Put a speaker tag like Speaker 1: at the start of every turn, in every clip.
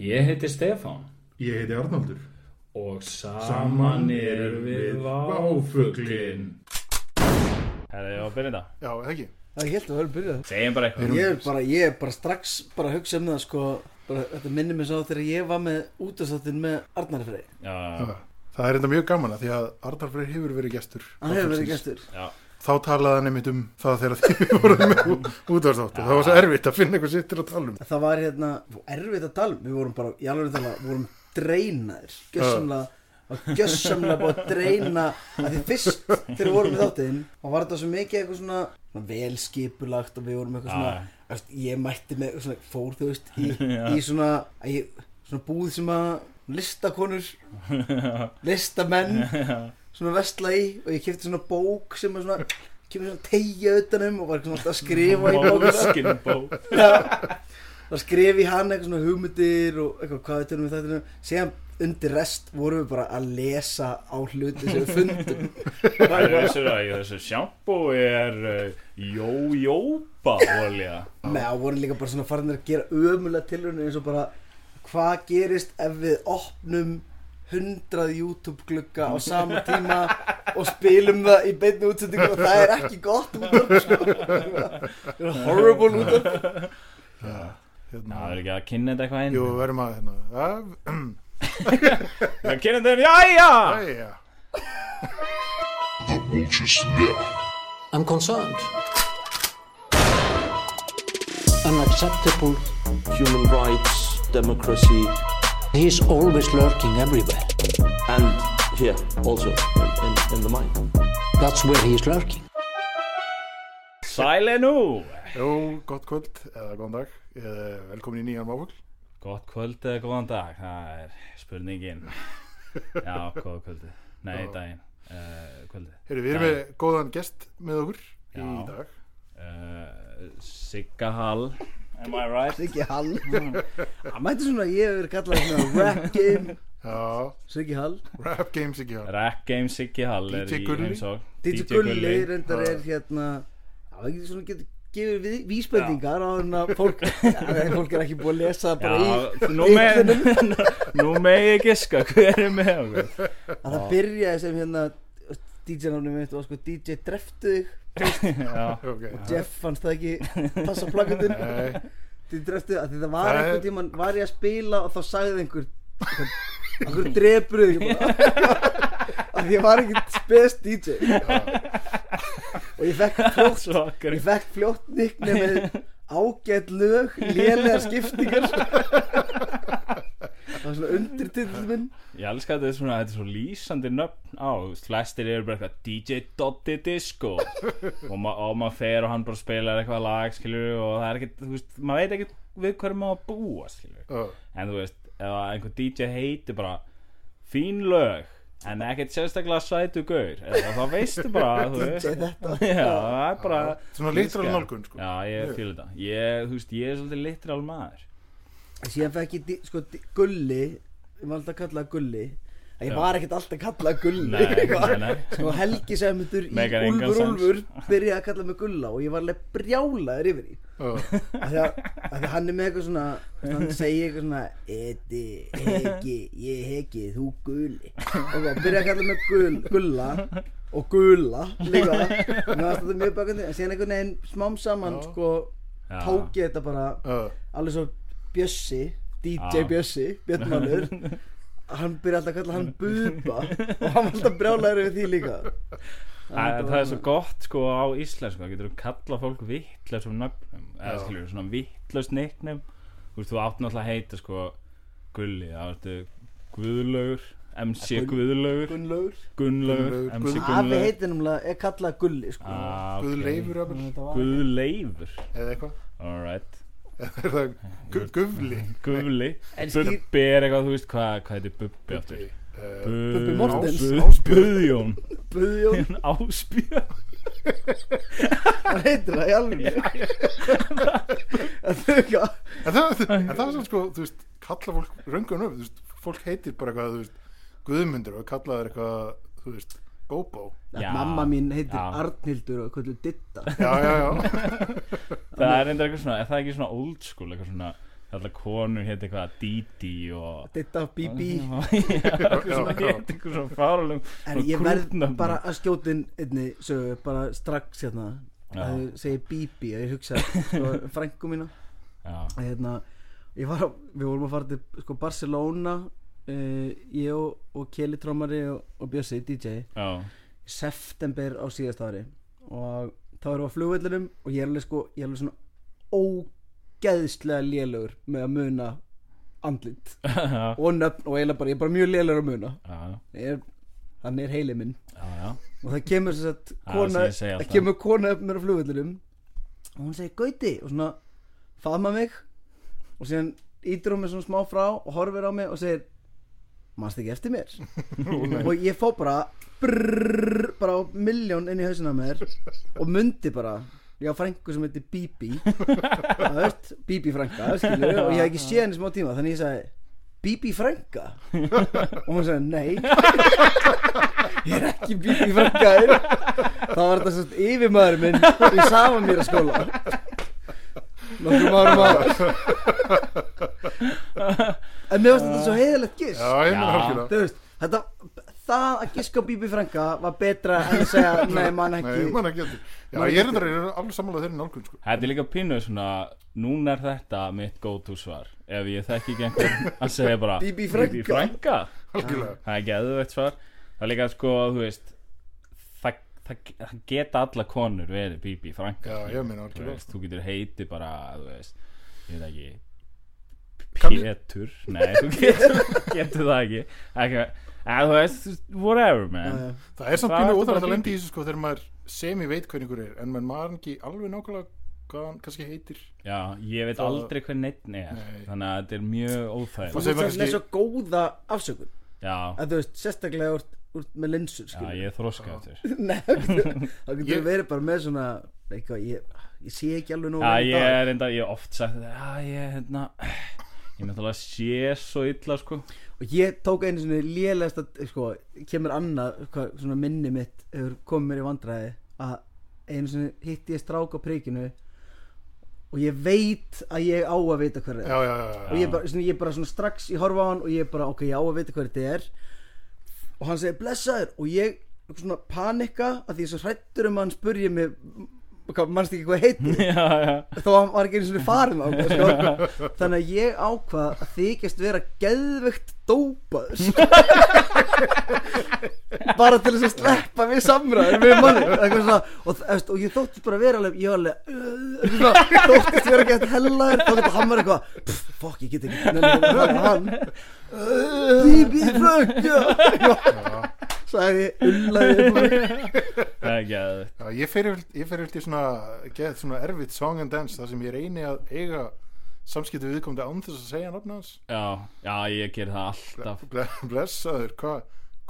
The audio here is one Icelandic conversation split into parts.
Speaker 1: Ég heiti Stefán
Speaker 2: Ég heiti Arnaldur.
Speaker 1: og saman erum við váfuglin. Herra, ég var að byrja þetta.
Speaker 3: Já, eða ekki
Speaker 4: Það er helt að vera byrjað
Speaker 1: Segjum bara eitthvað.
Speaker 4: Ég er bara, ég er bara strax bara að hugsa um það sko bara, Þetta minnir mig svo á þegar ég var með útastáttin með Arnari Frey
Speaker 1: Já,
Speaker 3: Já. Það er þetta mjög gaman að því að Arnar Freyr hefur verið gestur
Speaker 4: Hann hefur verið gestur
Speaker 1: já,
Speaker 3: Þá talaði hann einmitt um það þegar þið voruð með útvarsáttu Það var svo erfitt að finna eitthvað sitt til að tala um
Speaker 4: Það var hérna, erfitt að tala um. Við vorum bara, ég alveg tala, vorum dreinaðir Gjössamlega, var gjössamlega búið að dreina að Því fyrst þegar við vorum með þáttinn þá var þetta svo mikið eitthvað svona, svona velskipulagt og við vorum eitthvað svona
Speaker 1: já.
Speaker 4: Þú veist, ég mætti með svona, fór þú veist í, í svona, að ég, svona búð sem að listakonur listamenn svona vestla í og ég kefti svona bók sem að svona kemur svona tegja utanum og var svona alltaf að skrifa í bók
Speaker 1: Móskin bók.
Speaker 4: og skrif í hann eitthvað svona hugmyndir og eitthvað hvað þetta er með þetta síðan undir rest vorum við bara að lesa á hluti sem við fundum
Speaker 1: Það er þessu, þessu sjampú er uh, jójóba olja.
Speaker 4: með að voru líka bara svona farinir að gera ömulega tilrunni eins og bara hvað gerist ef við opnum 100 YouTube glugga á sama tíma og spilum það í beinni útsendingu og það er ekki gott útvarp sko. það er horrible útvarp
Speaker 1: Já,
Speaker 3: hérna.
Speaker 1: það er ekki að kynna þetta eitthvað
Speaker 3: Jú,
Speaker 1: einn.
Speaker 3: við verðum að hérna. að-
Speaker 1: Það kynna þetta einn, jæja!
Speaker 3: Jæja.
Speaker 5: I'm concerned. Unacceptable.
Speaker 6: human rights, democracy,
Speaker 5: He is always lurking everywhere.
Speaker 6: and Mm. here also in, in, in the mind.
Speaker 5: That's where he is lurking.
Speaker 1: Sæle nú!
Speaker 3: Jú, gott kvöld eða góðan dag eða velkomin í nýjan máfugl
Speaker 1: Gott kvöld eða góðan dag, það er spurningin. Já, góða kvöldi. Nei,
Speaker 3: Já.
Speaker 1: daginn. Uh, kvöldi.
Speaker 3: Heyrðu, Við
Speaker 1: Já.
Speaker 3: erum með góðan gest með okkur í
Speaker 1: Já.
Speaker 3: dag
Speaker 1: Uh, Sigga Hall. Am I right?
Speaker 4: Siggi Hall það mætti svona að ég hef verið kallað svona rap game
Speaker 3: Já,
Speaker 4: Siggi Hall
Speaker 3: Rap Games ekki hann
Speaker 1: Rack Game Siggi Hall er
Speaker 3: DJ
Speaker 1: í
Speaker 3: Gulli.
Speaker 1: heimsókn.
Speaker 4: DJ Gulli
Speaker 1: Gulli.
Speaker 4: reyndar er hérna það er ekki svona getur gefur við, vísbendingar á hann að fólk, að fólk er ekki búið að lesa bara
Speaker 1: Já,
Speaker 4: í
Speaker 1: nú með Nú með ég giska hver er með okkur
Speaker 4: að það byrjaði sem hérna DJ-námni mitt var sko DJ dreftu þig
Speaker 1: Já,
Speaker 3: okay.
Speaker 4: Jeff fannst það ekki passa plakatinn
Speaker 3: Nei,
Speaker 4: DJ dreftu þig að því það var
Speaker 3: Nei.
Speaker 4: einhvern tíman var ég að spila og þá sagði einhver einhver drefur þig ég bara, að ég var ekki spes DJ og ég fekk fljótt
Speaker 1: svo okkur
Speaker 4: ég fekk fljótt nikni með ágætt lög lélegar skiptingar það var svona undirtill minn
Speaker 1: Ég elska að þetta er svona, þetta er svo lýsandi nöfn á þú veist, Flestir eru bara eitthvað DJ Dotti Disco Og ma- og maður fer og hann bara spilar eitthvað lag, skilur Og það er ekkert, þú veist, maður veit ekkert við hverju maður á að búa, skilur
Speaker 3: já,
Speaker 1: En þú veist, ef að einhver DJ heiti bara Fín lög En ekkert sérstaklega sætu gaur eða Þá veistu bara, þú veist
Speaker 4: DJ þetta.
Speaker 1: Já, það er bara
Speaker 3: Svona litral nálgun, sko.
Speaker 1: Já, ég fýl þetta Ég, þú veist, ég er svolítið litral maður
Speaker 4: síðan fekk ég di- sko di- gulli ég var alltaf að kalla það gulli að ég var ekkert alltaf að kalla það gulli
Speaker 1: Nei,
Speaker 4: eitthvað.
Speaker 1: nei, nei.
Speaker 4: sko Helgi Sæmundur í
Speaker 1: Megar engan
Speaker 4: Úlfur
Speaker 1: sens.
Speaker 4: Úlfur byrjaði að kalla mig gulla og ég var alveg brjálaður yfir því
Speaker 3: já,
Speaker 4: af því að, af því að hann er með eitthvað svona hann segir eitthvað svona Edi, hegi, ég hegi, þú guli og það byrja að kalla mig gul, gulla og gula líka Mér fannst þetta mjög bakandi en síðan einhvern veginn smám saman
Speaker 3: Já.
Speaker 4: sko
Speaker 1: Já.
Speaker 4: tók ég þetta bara
Speaker 3: já.
Speaker 4: alveg svo Bjössi DJ
Speaker 1: Já.
Speaker 4: Bjössi, Björnmannur hann byrja alltaf að kalla hann Buba og hann var alltaf brjálæður yfir því líka
Speaker 1: Það, það er svo gott sko á íslensku Það getur þú kalla fólk vittlausum nöfnum Eða
Speaker 3: Já.
Speaker 1: skilur, svona vittlaus nicknum Þú veist, þú átt náttúrulega að heita sko Gulli, það ertu Guðlaugur MC
Speaker 4: Gunn-
Speaker 1: Guðlaugur
Speaker 4: Gunnlaugur
Speaker 1: Gunnlaugur,
Speaker 3: Gunnlaugur,
Speaker 1: MC
Speaker 3: Guð-
Speaker 4: Afi
Speaker 1: Gunnlaugur
Speaker 4: heitir náttúrulega, er kallað Gulli sko
Speaker 1: Ah, ok.
Speaker 3: Guðleifur jafnvel,
Speaker 4: Þetta var-
Speaker 1: Guðleifur
Speaker 3: eða eitthvað
Speaker 1: Alright
Speaker 3: Er það gu- gufli?
Speaker 1: Guðli
Speaker 4: En skýr-
Speaker 1: Bubbi er eitthvað, þú veist, hvað hvað heitir Bubbi aftur?
Speaker 3: Uh,
Speaker 1: Bubbi
Speaker 4: Mortens.
Speaker 1: Buðjón
Speaker 4: Guðjón,
Speaker 1: Áspjörn
Speaker 4: hann heitir það í alveg Það er ekki að
Speaker 3: en það, en það er svona sko, þú veist, kalla fólk röngun upp, þú veist, fólk heitir bara eitthvað, þú veist, guðmundur og kalla þér eitthvað, þú veist, bóbó.
Speaker 1: Já.
Speaker 4: Mamma mín heitir
Speaker 1: Já.
Speaker 4: Arnhildur og kvöldu Ditta
Speaker 3: Já, já, já.
Speaker 1: Það er reyndar eitthvað svona, er það ekki svona old school eitthvað svona Alltaf konur hétt eitthvað Didi og
Speaker 4: Ditta BB
Speaker 1: Svona
Speaker 3: Já, já.
Speaker 1: hétt eitthvað svona fáralum
Speaker 4: En ég verð bara að skjóta inn einni sögu, bara strax hérna
Speaker 1: Já.
Speaker 4: að þau segir BB að ég hugsa sko, frængu mína
Speaker 1: Já,
Speaker 4: að hérna, ég var, á- við vorum að fara til sko, Barcelona uh, ég og, og Kelly Trommari og, og Bjössi DJ
Speaker 1: já,
Speaker 4: í september á síðast ári og þá erum við á flugvellinum og ég er alveg sko, ég er alveg svona ógeðslega lélugur með að muna andlit
Speaker 1: já,
Speaker 4: og nöfn og eiginlega bara, ég er bara mjög lélugur að muna
Speaker 1: já,
Speaker 4: ég er, hann er heili minn
Speaker 1: já, já.
Speaker 4: og það kemur sem sagt
Speaker 1: Já,
Speaker 4: kona,
Speaker 1: sem ég segi
Speaker 4: það
Speaker 1: alltaf.
Speaker 4: kemur kona upp mér á flugvöldunum og hún segir Gauti og svona faðma mig og síðan ítur hún mig svona smá frá og horfir á mig og segir mannst ekki eftir mér og ég fó bara brrrr, bara á milljón inn í hausina mér og mundi bara ég á frængu sem heitir Bibi það veist, Bibi frænga skilur, og ég hef ekki séð henni í smá tíma þannig ég sagði Bibi frænga og hún sagði nei ég er ekki bíl í framgæðir þá var þetta svona yfirmaður minn í sama mér að skóla nokkrum árum að en mér varst þetta svo heiðilegt gisk
Speaker 3: Já, ég meina
Speaker 1: Já.
Speaker 3: algjörlega.
Speaker 4: þú veist þetta, það að giska á Bíbi Franka var betra en að segja nei mann
Speaker 3: Nei,
Speaker 4: ekki
Speaker 3: ég man ekki eftir. Já, ég er þetta alveg sammála þeirri nálgun, sko.
Speaker 1: Þetta er líka pínu svona Núna er þetta mitt go-to svar Ef ég þekki ekki einhvern að segja bara
Speaker 4: Bíbí frænka.
Speaker 1: Bíbí frænka
Speaker 3: Algjörlega.
Speaker 1: Það er geðveikt svar Það er líka sko, þú veist Það, það, það geta alla konur verið Bíbí frænka
Speaker 3: Já, ég meina
Speaker 1: Þú
Speaker 3: algjörlega.
Speaker 1: veist, þú getur heiti bara, þú veist Ég veit ekki
Speaker 3: Kann ég-
Speaker 1: Pétur Nei, þú getur, getur það ekki Ekki, að þú veist, whatever man
Speaker 4: Já, já.
Speaker 3: Það er samt
Speaker 1: Það er
Speaker 3: pínu
Speaker 1: bara
Speaker 3: óþægilegt að
Speaker 1: bíbí.
Speaker 3: lendi í þessu, sko, þegar maður semi veit hvernig ykkur er, en maður maður ekki alveg nákvæmlega hvað hann kannski heitir.
Speaker 1: Já, ég veit
Speaker 3: Það-
Speaker 1: aldrei hver neittn er
Speaker 3: Nei.
Speaker 1: Þannig að þetta er mjög
Speaker 4: og
Speaker 1: óþægilegt
Speaker 3: Fólk-
Speaker 4: þú
Speaker 3: segir
Speaker 4: veist
Speaker 3: kannski-
Speaker 4: með svo góða afsökun
Speaker 1: Já,
Speaker 4: að þú veist sérstaklega úr, úr, með linsur
Speaker 1: já
Speaker 4: skilur
Speaker 1: ég er þroska eftir
Speaker 4: Nei, þá getur
Speaker 3: Ég-
Speaker 4: við verið bara með svona eitthvað, ég, ég sé ekki alveg nóg
Speaker 1: Já,
Speaker 4: vel í
Speaker 1: ég
Speaker 4: dag.
Speaker 1: er enda, ég er oft sagt þetta, Já, ég er hérna Ég náttúrulega sé svo illa sko
Speaker 4: og ég tók einu svona lélegasta sko, kemur annað hvað, svona minni mitt hefur komið mér í vandræði að einu svona hitti ég strák á prikinu og ég veit að ég á að vita hver
Speaker 3: Já,
Speaker 4: er
Speaker 3: já, já, já.
Speaker 4: og ég bara, svona, ég bara svona strax ég horfa á hann og ég bara ok, ég á að vita hver þetta er og hann segir blessaður og ég svona panika að því ég er svo hrættur um að hann spurja mig hvað, manst ekki hvað heiti
Speaker 1: Já, já,
Speaker 4: þó að hann var ekki einu svona farin á mig sko. þannig að ég ákvað að þykjast vera geðvegt dópaður bara til þess að sleppa við samræður við manni eitthvað svona, og, þú veist, og ég þóttist bara vera alveg ég var alveg uh, eitthvað svona, þóttist vera gett hellaður þá getur hann var eitthvað "Pff, fokk ég get ekki nefnir hann hann "Uh, bíbí frökk sagði ég ullaði upp á mig.
Speaker 1: það er geðveikt.
Speaker 3: Já, ég fer yfir- ég fer yfir til svona, get, svona erfitt song and dance þar sem ég reyni að eiga samskipti viðkomandi án þess að segja nafna hans
Speaker 1: Já, já, ég ger það alltaf
Speaker 3: Ble, blessaður, hvað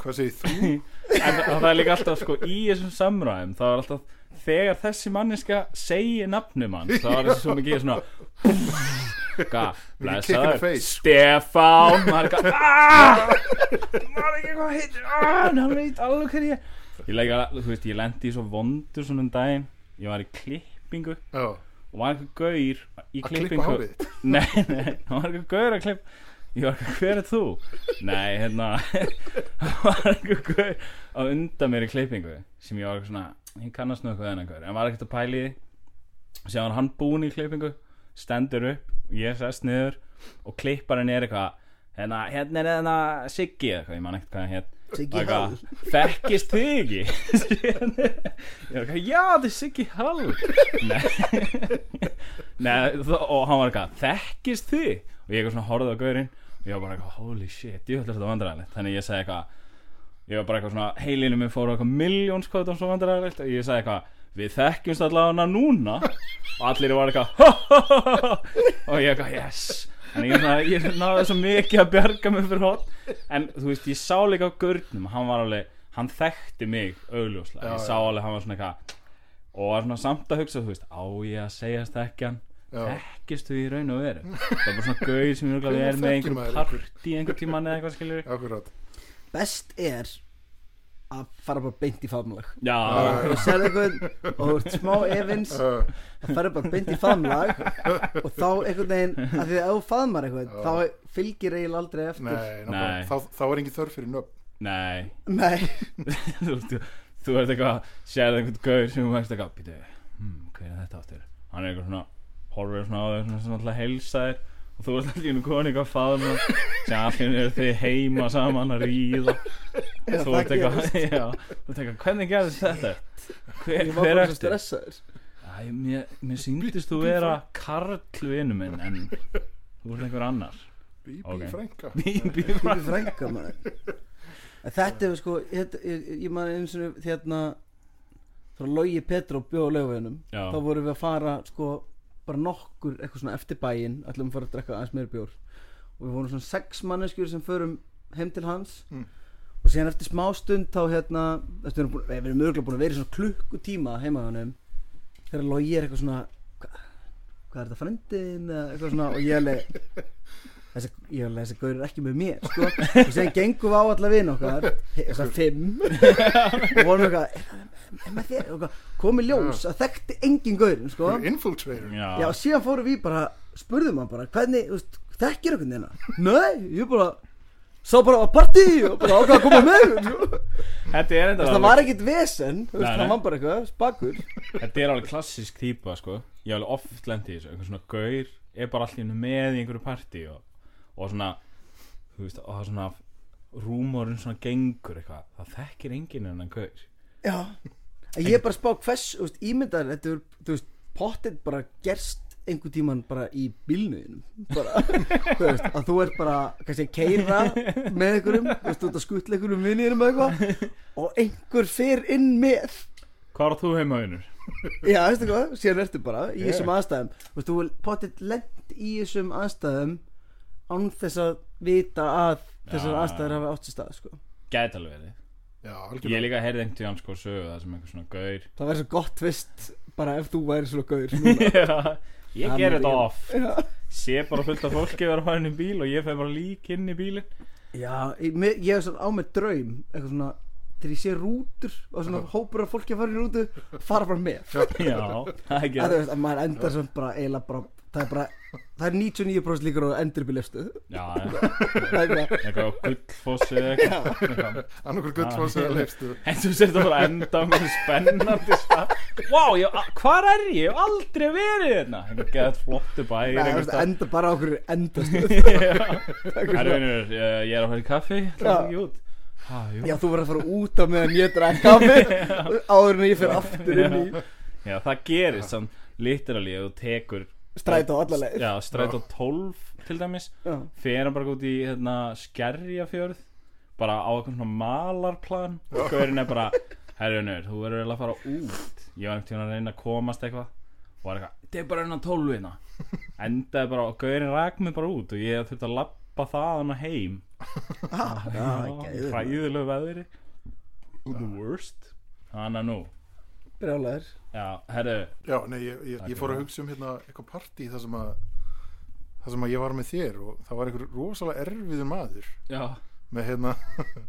Speaker 3: hva segir þú?
Speaker 1: En það- það er líka alltaf sko í þessum samræðum Það er alltaf þegar þessi manniska segir nafnum hans Það er þessi svo mikið svona Hvað,
Speaker 3: kick in the
Speaker 1: blessaður
Speaker 3: face.
Speaker 1: Stefán Það er eitthvað "Ah!" Maður ekki hvað heitir "Ah, En hann veit alveg hver ég er." Ég leika, þú veist, ég lendi í svo vondur svona um daginn Ég var í klippingu
Speaker 3: Já,
Speaker 1: Og var eitthvað gaur í
Speaker 3: að klippa
Speaker 1: klippingu
Speaker 3: hárið þitt.
Speaker 1: Nei, nei, hann var eitthvað gaur að klipp Ég var eitthvað, hver er þú? Nei, hérna Hann var eitthvað gaur að undan mér í klippingu sem ég var eitthvað svona ég kannast nú eitthvað við þennan gaur en var ekkert að pæli því og séðan hann búin í klippingu stendur upp og ég sest niður og klipparinn er eitthvað hérna, hérna er hérna Siggi eitthvað, ég man ekkert hvað hann hétt
Speaker 4: Siggi
Speaker 1: Og eitthvað,
Speaker 4: Hall.
Speaker 1: Þekkist þið ekki? Síðan- ég var eitthvað, já þetta er Siggi Hall Nei Nei, þó- og hann var eitthvað, þekkist þið? Og ég eitthvað svona horfði á gaurinn og ég var bara eitthvað, holy shit, ég ætla þetta vandræðilegt Þannig ég sagði eitthvað, ég var bara eitthvað svona, heilinu minn fór á eitthvað miljónskvötum svo vandræðilegt Og ég sagði eitthvað, við þekkjumst allavega núna Og allir var eitthvað, "Ha, ha, ha, ha, ha." og ég eitthvað, yes Þannig ég, svona, ég náði svo mikið að bjarga mig fyrir hot En þú veist, ég sá líka á gaurnum, hann var alveg, hann þekkti mig augljóslega Ég
Speaker 3: Já,
Speaker 1: sá alveg, hann var svona eitthvað og var svona samt að hugsa þú veist, á ég að segja stekkjan þekkistu í raun og veru það var bara svona gauð sem ég
Speaker 3: Hvenær
Speaker 1: er með
Speaker 3: þekkir
Speaker 1: einhverjum
Speaker 3: maður
Speaker 1: partí einhver tíman eða eitthvað skilur
Speaker 3: Akkurat
Speaker 4: best er að fara bara beint í faðmlag
Speaker 1: Já,
Speaker 4: og sér einhvern og þú ert smá evins
Speaker 3: Uh,
Speaker 4: það fara bara beint í faðmlag og þá einhvern veginn að því að ef þú faðmar einhvern þá fylgir eiginlega aldrei eftir
Speaker 3: nei, ná,
Speaker 1: Nei.
Speaker 3: bara, þá, þá er engin þörf fyrir nöfn
Speaker 1: nei
Speaker 4: Nei.
Speaker 1: þú, þú, þú ert eitthvað sérð einhvern gaur sem þú veist eitthvað býtu, hmm, hver er þetta áttur hann er eitthvað svona, horfir svona á þér svona, svona alltaf heilsa þér og þú ert alltaf í einu koni eitthvað faðum sem allir eru þið heima saman að ríða
Speaker 4: Já,
Speaker 1: þú
Speaker 4: það
Speaker 1: ert eitthvað já, þú ert eitthvað, hvernig gerðist þetta hver,
Speaker 4: ég var
Speaker 1: hver
Speaker 4: bara svo
Speaker 1: ertu
Speaker 4: stressaður
Speaker 1: Æ, mér, mér síndist þú vera karlvinu minn en þú ert einhver annar
Speaker 3: Bíbí
Speaker 1: Ok.
Speaker 3: frænka
Speaker 1: Bíbí
Speaker 4: Bíbi frænga maður En þetta er sko þetta, ég, ég- ég maður eins og þérna þá hérna, logi Petru og bjóða lögveginum
Speaker 1: Já.
Speaker 4: þá vorum við að fara sko bara nokkur eitthvað svona eftir bæinn ætlum að fara að drekka aðeins meira bjór og við vorum svona sex manneskjur sem förum heim til hans
Speaker 3: Mm.
Speaker 4: og síðan eftir smá stund þá hérna eftir, við erum búin- við erum örgulega búin að vera í svona klukkutíma heima hjá hann þegar logi er eitthvað svona "Hva- hvað er þetta frendin eitthvað svona og ég er alveg þessi, ég er alveg þessi gaur er ekki með mér sko. og síðan gengum við á alla vin okkar þess að fimm og vorum eitthvað "Er- er maður þér?" Og eitthvað, komið ljós að þekkti engin gaurin sko.
Speaker 3: Infiltrator
Speaker 1: já,
Speaker 4: já, og síðan fórum við bara spurðum hann bara hvernig, þú veist, þekkir einhvern veginn nei, ég bara sá bara að partí og bara ákvað að koma með sko.
Speaker 1: þetta er
Speaker 4: Þú
Speaker 1: þetta
Speaker 4: veist, það var ekkit vesen þú
Speaker 1: Nei,
Speaker 4: veist,
Speaker 1: nei.
Speaker 4: það var bara eitthvað spakur
Speaker 1: Þetta er alveg klassisk típa sko Ég hef alveg oft lendið þessu Einhver svona gaur er bara allir með í einhverju partí og, og svona Þú veist, og það er svona Rúmorinn svona gengur eitthvað Það þekkir enginn en hann gaur
Speaker 4: já, að ég er bara að spá hvers þú veist, ímyndar, þetta er, þú veist, pottet bara gerst einhvern tíman bara í bílnuðinum bara, þú veist, að þú ert bara kannski að keira með einhverjum þú veist, þú ert að skutla einhverjum vinninum eitthvað og einhver fer inn með
Speaker 1: Hvað er þú heima vinnur?
Speaker 4: Já, veistu hvað, síðan ertu bara í
Speaker 1: Yeah.
Speaker 4: þessum aðstæðum Þú veist, þú er potið lent í þessum aðstæðum án þess að vita að þessar
Speaker 1: Já.
Speaker 4: aðstæður hafa átt sér stað sko.
Speaker 1: Gæti alveg verið
Speaker 3: Já,
Speaker 1: Ég
Speaker 3: algjörlega
Speaker 1: líka heyrði einhvern tíðan sko sögu Það sem einhver svona gaur
Speaker 4: Það væri svo gott vist bara ef þú væri svona gaur núna.
Speaker 1: Ég
Speaker 4: Hann
Speaker 1: ger
Speaker 4: er
Speaker 1: þetta
Speaker 4: í-
Speaker 1: off
Speaker 4: Já,
Speaker 1: Sé bara fullt af fólki vera farin í bíl Og ég fer bara lík inn í bílinn
Speaker 4: Já ég, mér- ég hef svona á með draum eitthvað svona þegar ég sé rútur og svona hópur af fólki að fara í rútu fara bara með að,
Speaker 1: Já, það er ekki
Speaker 4: þú veist, að maður endar svona bara eiginlega bara það er bara það er 99% líkur og endur upp í listu
Speaker 1: Já, já.
Speaker 4: það er bara
Speaker 1: eitthvað gullfossi eða eitthvað Eitthvað
Speaker 3: Annarkur gullfáls eða leifstu
Speaker 1: En þú sér þetta bara að enda á mjög spennandi stað Vá, wow, hvar er ég? Ég hef aldrei verið hérna Einhver geðað flottu bæir
Speaker 4: Nei, þú
Speaker 1: einhvers
Speaker 4: veist,
Speaker 1: staðar.
Speaker 4: enda bara á okkur endast
Speaker 1: Já. Herru vinur, eh, ég er að fara í kaffi Það
Speaker 4: Já.
Speaker 1: er ekki út Ha, jú.
Speaker 4: Já, þú verður að fara út af meðan ég drakk kaffi áður en ég fer aftur inn í
Speaker 1: Já, það gerist samt literally ef þú tekur
Speaker 4: strætó alla leið.
Speaker 1: Já, strætó 12 til dæmis
Speaker 4: Já.
Speaker 1: Fer hann bara út í hérna, skerjafjörð Bara á eitthvað svona malarplan Og gaurin er bara Herru vinur, þú verður eiginlega að fara út Ég var einhvern tímann að reyna að komast eitthvað Og var eitthvað, þetta er bara innan 12 hérna Endaði bara, og gaurin rak mig bara út Og ég þurfti að labba það hann heim
Speaker 4: Já, gæður.
Speaker 1: Ræðilegu veðri The worst Hanna nú
Speaker 4: Brjálæður.
Speaker 1: Já, herru,
Speaker 3: Já, nei, ég, ég, ég fór að hugsa um hérna eitthvað partí þar sem að þar sem að ég var með þér og það var einhver rosalega erfiður maður
Speaker 1: já,
Speaker 3: með hérna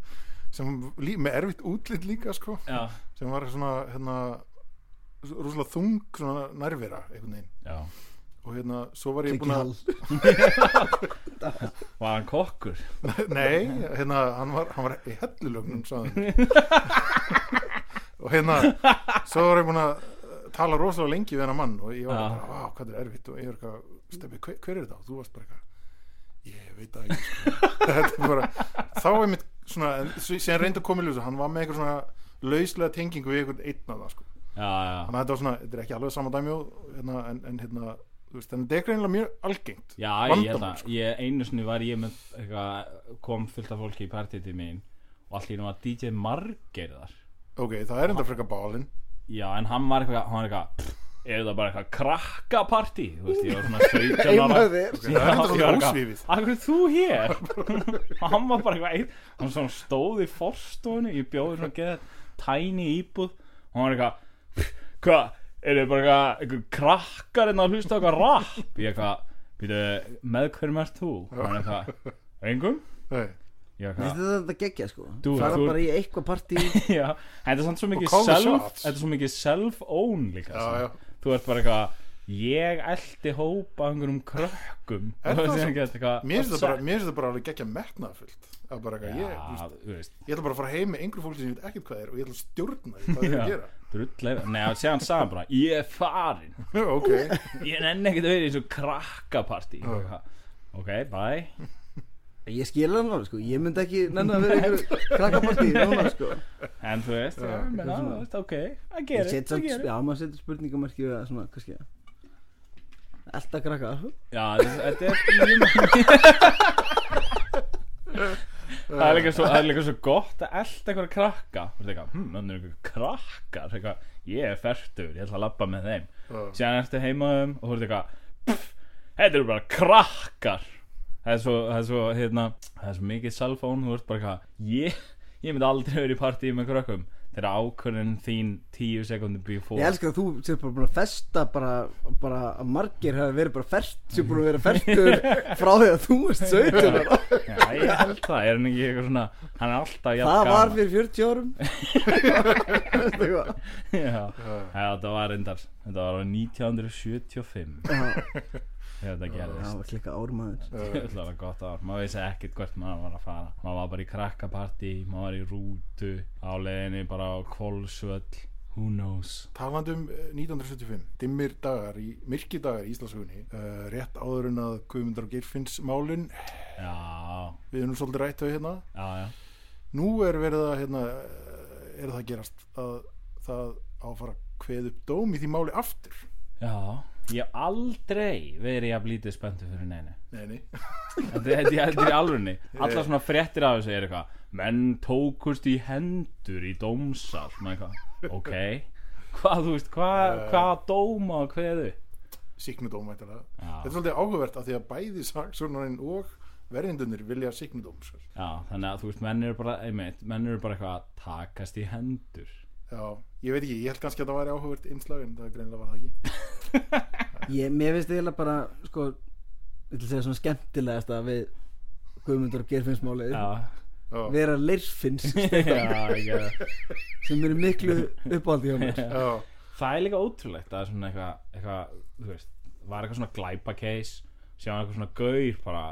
Speaker 3: sem, lí, með erfitt útlit líka sko
Speaker 1: já
Speaker 3: sem var svona hérna rosalega þung svona nærvera einhvern veginn
Speaker 1: Já,
Speaker 3: og hérna svo var ég
Speaker 4: Siggi
Speaker 3: búin að
Speaker 4: Hall.
Speaker 1: var hann kokkur?
Speaker 3: Nei, hérna, hann var, hann var í hellulögnum, sagði hann. og hérna, svo var ég búin að eh, tala rosalega lengi við hennar mann og ég var
Speaker 1: Já.
Speaker 3: bara, vá, hvað þetta er erfitt og ég var eitthvað, stefni, hver, hver er þetta? Og þú varst bara eitthvað, ég veit það ekki, sko. Þetta er bara, þá er mitt svona, en s- síðan reyndi að koma í ljósa, hann var með eitthvað svona lauslega tengingu við einhvern einn af það, sko.
Speaker 1: Já, já,
Speaker 3: Þannig að þetta var svona, þetta er ekki alveg sama dæmi og, hérna, en, en hérna, þú veist, en þetta er greinilega mjög algengt.
Speaker 1: Já, ég held
Speaker 3: vandamál,
Speaker 1: að ég, einu sinni var ég með eitthvað, kom fullt af fólki í partíti mín og allir var DJ Margeir þar
Speaker 3: Ok, það er enda frekar bálinn.
Speaker 1: Já, en hann var eitthvað, hann var eitthvað er það bara eitthvað krakkapartí þú veist, ég var svona 17 ára
Speaker 4: Heima þér.
Speaker 1: Já,
Speaker 3: Það er
Speaker 1: ég
Speaker 3: enda svona
Speaker 1: var eitthvað,
Speaker 3: ósvífið.
Speaker 1: "Af hverju ert þú hér og hann var bara eitthvað einn hann svona stóð í forstofunni ég bjóði svona geða tæni íbúð og hann var eitthvað hvað, er þið bara eitthvað eitthvað krakkar en að hlusta á eitthvað rap ég eitthvað, býtu, með hverjum ert þú og hann eitthvað, engum
Speaker 3: Nei,
Speaker 1: ég Já.
Speaker 4: þetta er þetta geggja sko
Speaker 1: Þú-
Speaker 4: fara
Speaker 1: þú-
Speaker 4: bara í eitthvað partí
Speaker 1: Já, en þetta er samt svo mikið
Speaker 3: call the
Speaker 1: self
Speaker 3: shots.
Speaker 1: Þetta er svo mikið self-own líka
Speaker 3: Já,
Speaker 1: svona.
Speaker 3: já.
Speaker 1: Þú ert bara eitthvað Ég eldi hópa af einhverjum krökkum
Speaker 3: Er
Speaker 1: Og
Speaker 3: það
Speaker 1: síðan
Speaker 3: svo?
Speaker 1: gerist eitthvað
Speaker 3: Mér finnst það bara-
Speaker 1: upset.
Speaker 3: mér finnst það bara alveg geggja metnaðfullt Það er bara eitthvað, ég, þú
Speaker 1: Já,
Speaker 3: veist,
Speaker 1: þú veist
Speaker 3: ég ætla bara að fara heim með einhver fólk sem ég veit ekkert hvað er og ég ætla að stjórna því hvað þau eru að
Speaker 1: Já.
Speaker 3: gera
Speaker 1: Drullega Nei, og síðan sagði hann bara Ég er farin
Speaker 3: Ok,
Speaker 1: Ég nenni ekkert að vera í þessu krakkapartí Ok, bye
Speaker 4: ég skilja hann alveg sko, ég myndi ekki nenni að vera í einhverju krakkapartí núna sko
Speaker 1: En þú veist, já, menn,
Speaker 4: eitthvað
Speaker 1: já,
Speaker 4: svona.
Speaker 1: þú veist, ok I
Speaker 4: ég
Speaker 1: get
Speaker 4: set
Speaker 1: it, I
Speaker 4: samt,
Speaker 1: get it
Speaker 4: já maður setur spurningamarki við að svona, kannski alltaf krakkar sko.
Speaker 1: Já, þetta þetta er ég meina- Það er líka svo, það er líka svo gott að elda einhverja krakka Þú veist eitthvað, hm, þannig er einhverja krakkar eitthvað, Ég er fertur, ég ætla að labba með þeim
Speaker 3: Já.
Speaker 1: Síðan ertu heimaðum og þú veist eitthvað pff, Þetta eru bara krakkar Það er svo, það er svo, hérna Það er svo mikið salfón, þú ert bara eitthvað Ég, ég myndi aldrei verið í partíi með krökkum Þegar ákvörðin þín tíu sekundi before
Speaker 4: Ég elskar að þú sér bara búin að festa bara, bara að margir hafi verið bara fert sem búin að vera fertur frá því að þú veist 17 ára.
Speaker 1: Já, ég held það, er hann ekki eitthvað svona Hann er alltaf jafn
Speaker 4: Það var
Speaker 1: gaman?
Speaker 4: fyrir 40 árum Veistu hvað?
Speaker 1: Já, Já, þetta var reyndar Þetta var á 1975
Speaker 4: Já,
Speaker 1: Þegar þetta gerðist
Speaker 4: það var klikka ármaður
Speaker 1: Það var gott ár, maður vissi ekkert hvert maður var að fara Maður var bara í krakkapartí, maður var í rútu Á leiðinni bara á kvolsvöll Who knows
Speaker 3: talandi um eh, 1975 dimmir dagar, í, myrki dagar í Íslandsugunni uh, rétt áður en að Guðmundar og Geirfinns málin
Speaker 1: Já,
Speaker 3: við erum svolítið rætt á því hérna
Speaker 1: já, já
Speaker 3: nú er verið að hérna, eh, er það að gerast að það á að fara að kveða upp dóm í því máli aftur
Speaker 1: Já, ég hef aldrei verið jafn lítið spenntu fyrir neinu
Speaker 3: Nei, nei,
Speaker 1: Þetta þetta- þetta er í alvörunni Allar svona fréttir af þessu er eitthvað Menn tókust í hendur í dómsal svona eitthvað Ok Hvað, þú veist, hvað, hvað dóma og hveðu
Speaker 3: síknudóm mættilega
Speaker 1: Já.
Speaker 3: Þetta er svolítið áhugavert af því að bæði saksónarinn og verjendunir vilja sko. síknudóm sér.
Speaker 1: Já, þannig að þú veist, menn eru bara einmitt, menn eru bara eitthvað að takast í hendur
Speaker 3: Já, ég veit ekki, ég held kannski að það væri áhugavert innslag en það greinlega var það ekki
Speaker 4: Ég, mér finnst eiginlega bara, sko ég ætla að segja svona skemmtilegast að við Guðmundur og Geirfinnsmálið
Speaker 1: Já,
Speaker 3: Já,
Speaker 4: vera leirfinns
Speaker 1: já, ekki það
Speaker 4: sem eru miklu uppáldi hjá mér
Speaker 3: já,
Speaker 1: Það er líka ótrúlegt að svona eitthvað, eitthvað, þú veist, var eitthvað svona glæpa case Sjá eitthvað svona gaur bara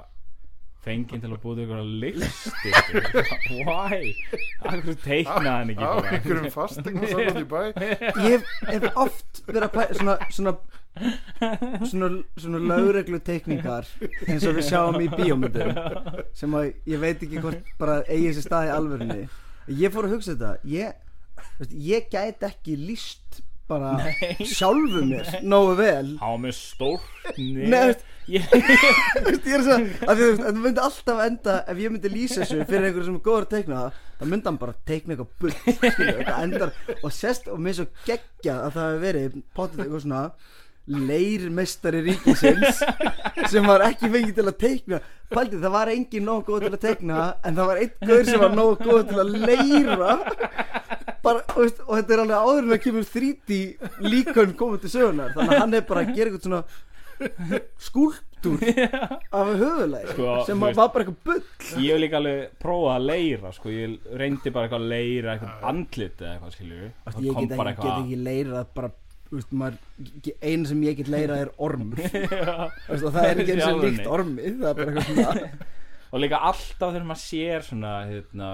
Speaker 1: fenginn til að búið eitthvað listi Why? Akkur teiknaði hann ekki
Speaker 3: á
Speaker 1: bara
Speaker 3: einhverjum fastegnum saman í bæ
Speaker 4: Ég hef, hef oft verið að pæ, svona, svona svona, svona lögreglu teikningar eins og við sjáum í bíómyndum sem að ég veit ekki hvort bara eigi sér stað í alvörunni ég fór að hugsa þetta ég, veist, ég gæti ekki líst bara sjálfu mér nógu vel
Speaker 1: Há með stórt
Speaker 4: Nei,
Speaker 1: nef
Speaker 4: veist-
Speaker 1: Ég-
Speaker 4: Veist, ég er svo, að því, þú veist, að það myndi alltaf enda ef ég myndi lýsa þessu fyrir einhverju sem er góður að teikna það þá myndi hann bara teikna eitthvað bull skilu, þetta endar og sest og mér er svo geggja að það hefur verið potið eitthvað svona leirmestari ríkisins sem var ekki fengið til að teikna Paldið, það var engin nóg góð til að teikna en það var einn góður sem var nóg góð til að leira bara, og, veist, og þetta er alveg áður en það kemur 3D líkön komið til sögunar þannig að hann er bara að gera eitthvað svona skúlptúr af höfulæg
Speaker 1: Sko,
Speaker 4: sem
Speaker 1: þú
Speaker 4: var
Speaker 1: veist-
Speaker 4: bara eitthvað bull
Speaker 1: Ég hef líka alveg prófað að leira sko. Ég reyndi bara eitthvað að leira Eitthvað andlit eða eitthvað skilju
Speaker 4: ég get ekki, get ekki leirað bara þú veist, maður, ge- einu sem ég get leirað er ormur Þú veist, og það er ekki eins og
Speaker 1: Sjálfur
Speaker 4: líkt
Speaker 1: neitt.
Speaker 4: ormi það er bara eitthvað svona
Speaker 1: Og líka alltaf þegar maður sér svona hérna,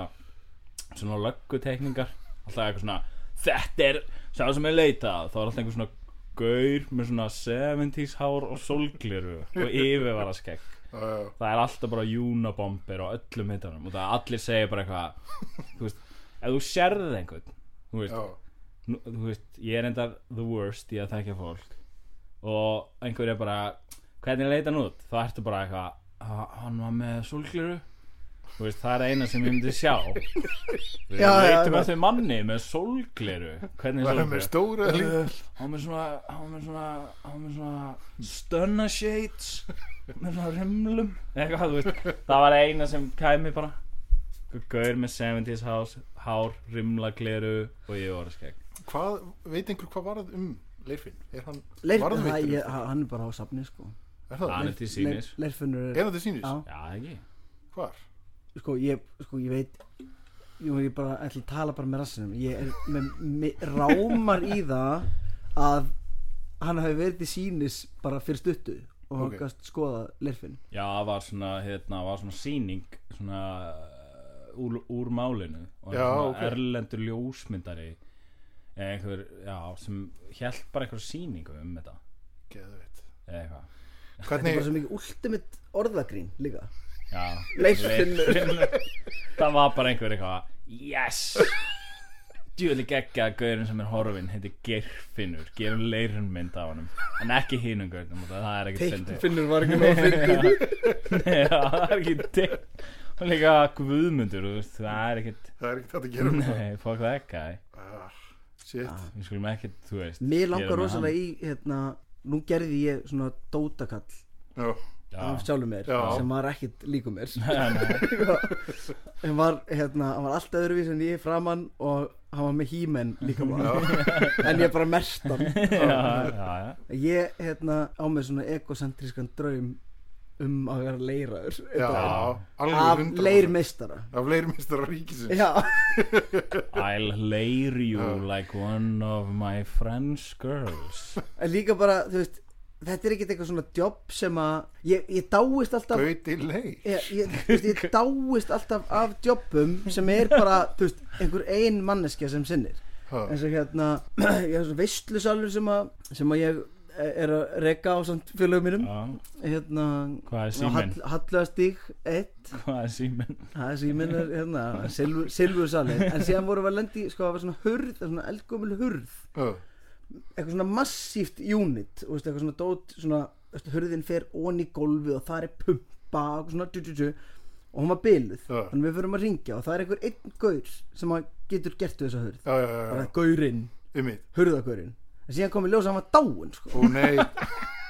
Speaker 1: Svona löggutekningar Alltaf eitthvað svona Þetta er sá sem ég leita að." Þá er alltaf einhver svona gaur Með svona 70s hár og solgliru Og yfirvara skegg
Speaker 3: Já,
Speaker 1: það er alltaf bara júnabombir og öllum hittanum og það allir segja bara eitthvað þú veist, ef þú sérðið einhvern þú veist,
Speaker 3: já,
Speaker 1: nú, þú veist, ég er endar the worst í að þekka fólk og einhver er bara hvernig leita hann út, þá ertu bara eitthvað "Ha- hann var með sólgliru þú veist, það er eina sem ég myndi sjá við
Speaker 4: Já, já,
Speaker 1: leitum
Speaker 4: já.
Speaker 1: að þau manni með sólgliru hvernig
Speaker 3: það er með
Speaker 1: sólgliru
Speaker 3: stóra líf
Speaker 1: hann með svona hann með svona hann með svona stunna shades með svona rimlum eitthvað þú veist það var eina sem kæmi bara Einhver gaur með 70s hás, hár rimla gleru og ég var að skegg
Speaker 3: Hvað, veit einhver hvað varð um Leirfinn? Er hann
Speaker 4: Leir,
Speaker 3: varðveittur?
Speaker 4: það, ég, hann er bara á safni sko
Speaker 3: Er það?
Speaker 1: hann er til
Speaker 4: Leir-
Speaker 1: sínis
Speaker 4: leirfinnur
Speaker 3: Er
Speaker 4: er
Speaker 3: það til sínist?
Speaker 4: Já.
Speaker 1: já ekki
Speaker 3: Hvar?
Speaker 4: sko ég, sko, ég veit jú, ég bara ætla að tala bara með rassinum ég er með, með rámar í það að hann hafi verið til sínis bara fyrir stuttu og hann
Speaker 3: Ok.
Speaker 4: gast skoða lerfin
Speaker 1: Já, það var svona, hérna, var svona sýning svona uh, úr, úr málinu og
Speaker 3: Já,
Speaker 1: svona
Speaker 3: ok.
Speaker 1: erlendur ljósmyndari eða einhver, já, sem held bara einhver sýningu um þetta
Speaker 3: Geðveitt.
Speaker 1: eða eitthvað,
Speaker 4: þetta er
Speaker 3: Hvernig,
Speaker 4: bara svo mikið ultimate orðagrín líka
Speaker 1: já
Speaker 4: Leirfinnur.
Speaker 1: Það var bara einhver eitthvað Yes Djúli geggja að gaurinn sem er horfinn heitir Geirfinnur, gerum leirunmynd af honum en ekki hinum gaurnum og það er ekki
Speaker 4: Teiknfinnur var ekki nóg fyrir
Speaker 1: Já, það er ekki teikt og líka guðmundur, þú veist, það er ekkit
Speaker 3: það er ekkert hægt að gera um það.
Speaker 1: Nei, fokk það ekki
Speaker 3: Ah, Shit.
Speaker 1: Við skulum ekkit, þú veist
Speaker 4: Mér
Speaker 1: gera um
Speaker 4: langar
Speaker 1: með
Speaker 4: rosalega í hérna, nú gerði ég svona dótakall
Speaker 3: Já,
Speaker 1: hann.
Speaker 4: af sjálfum mér
Speaker 3: Já.
Speaker 4: sem var ekkit líku mér
Speaker 1: Já,
Speaker 4: hann var, hérna, hann var alltaf öðruvís en ég framann og hann var með hímen líka bara en ég bara merkt hann
Speaker 1: já, já, já.
Speaker 4: ég hérna, á mig svona egocentrískan draum um að vera leiraður einn
Speaker 3: já,
Speaker 4: daginn.
Speaker 3: alveg
Speaker 4: af
Speaker 3: 100%.
Speaker 4: leirmeistara
Speaker 3: Af leirmeistara ríkisins.
Speaker 4: já,
Speaker 1: I'll layer you
Speaker 3: Já.
Speaker 1: like one of my friend's girls
Speaker 4: en líka bara þú veist, þetta er ekkit eitthvað svona jobb sem að ég, ég dáist alltaf
Speaker 3: Gauti leir.
Speaker 4: ég, ég, þú veist, ég dáist alltaf af jobbum sem er bara þú veist, einhver ein manneskja sem sinnir
Speaker 3: Ha.
Speaker 4: eins og hérna ég er svona veistlusalur sem að sem að ég eh, er að reka á samt félögum mínum
Speaker 1: Já,
Speaker 4: hérna
Speaker 1: Hvað er síminn?
Speaker 4: Hallastík 1
Speaker 1: Hvað er síminn?
Speaker 4: það er síminn er hérna silfur- silfursalinn en síðan vorum við að lendi sko það var svona hurð svona eldgumil hurð
Speaker 3: Já,
Speaker 4: eitthvað svona massíft unit og veist, eitthvað svona dót svona, veist, hurðin fer ón í gólfið og það er pumpa og eitthvað svona tju, tju, tju, og hún var byluð
Speaker 3: Já.
Speaker 4: þannig við förum að ringja og það er einhver einn gaur sem að getur gert við þessa hurð
Speaker 3: já, já, já,
Speaker 4: bara gaurinn,
Speaker 3: ummið.
Speaker 4: hurðagaurinn en síðan kom í ljós að hann var dáinn sko.
Speaker 3: Ó nei,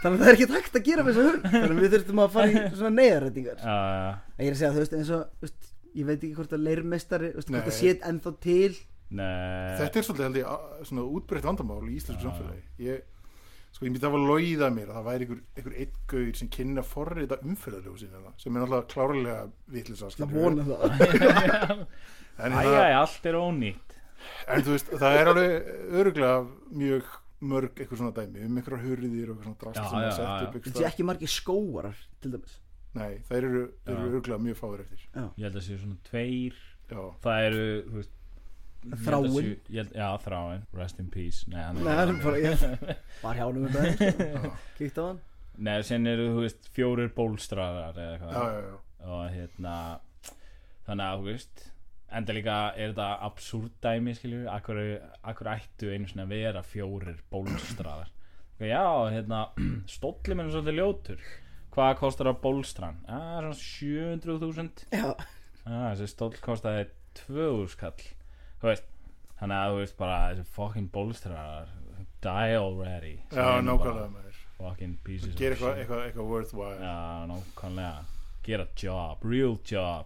Speaker 4: þannig að það er ekki takt að gera við þessa hurð þannig að við þurftum að fara í svona neyðarreitingar
Speaker 1: Já, já, já.
Speaker 4: en ég er að segja þú veist eins og þú veist, ég veit ekki hvort að leirmestari þú veist, hvort
Speaker 3: Nei.
Speaker 4: að séð ennþá til
Speaker 1: Nei
Speaker 3: þetta er svolítið held ég a- svona útbreytt vandamál í
Speaker 1: Ah.
Speaker 3: íslensku samfélagi. Ég, sko, ég myndi hafa logið að mér að það væri einhver, einhver eitt gaur sem kynna forrita umferðarlegu sinna sem er náttúrulega klárlega vitlisa.
Speaker 4: það vona það
Speaker 3: En,
Speaker 1: Æ,
Speaker 3: það,
Speaker 1: æ, allt er ónýtt
Speaker 3: en þú veist, það er alveg öruglega mjög mörg eitthvað svona dæmi um einhverjar hurðir og eitthvað svona drast
Speaker 1: Já,
Speaker 3: sem
Speaker 1: já,
Speaker 3: er
Speaker 1: já,
Speaker 3: sett
Speaker 1: já.
Speaker 3: upp
Speaker 4: þetta sé
Speaker 3: eitthvað.
Speaker 4: ekki margir skóarar til dæmis
Speaker 3: Nei, þær eru, eru
Speaker 1: Já.
Speaker 3: öruglega mjög fáir eftir.
Speaker 1: Ég held að séu svona tveir
Speaker 3: Já,
Speaker 1: Það eru, þú veist ég held að
Speaker 4: Þráinn.
Speaker 1: séu- ég held- Já, þráin, rest in peace Nei, hann
Speaker 4: Nei,
Speaker 1: er
Speaker 4: hann er bara, ég var hjá hann um þetta Kíkt á hann
Speaker 1: Nei, sen eru, þú veist, fjórir bólstraðar eða
Speaker 3: já,
Speaker 1: eitthvað
Speaker 3: já, já.
Speaker 1: og hérna þannig að þú veist enda líka er þetta absúrt dæmi skiljur, akkur, akkur ættu einu svona að vera fjórir bólstraðar já, hérna stóllum er svolítið ljótur hvað kostar á bólstran? Ah, svona 700.000
Speaker 4: Já,
Speaker 1: ah, þessi stóll kostaði 2000 skall þú veist, þannig að þú veist bara þessi fucking bólstraðar die already
Speaker 3: Já, nákvæmlega maður.
Speaker 1: fucking pieces of
Speaker 3: Gera eitthvað,
Speaker 1: shit.
Speaker 3: eitthvað, eitthvað worthwhile.
Speaker 1: Já, nákvæmlega Get a job, real job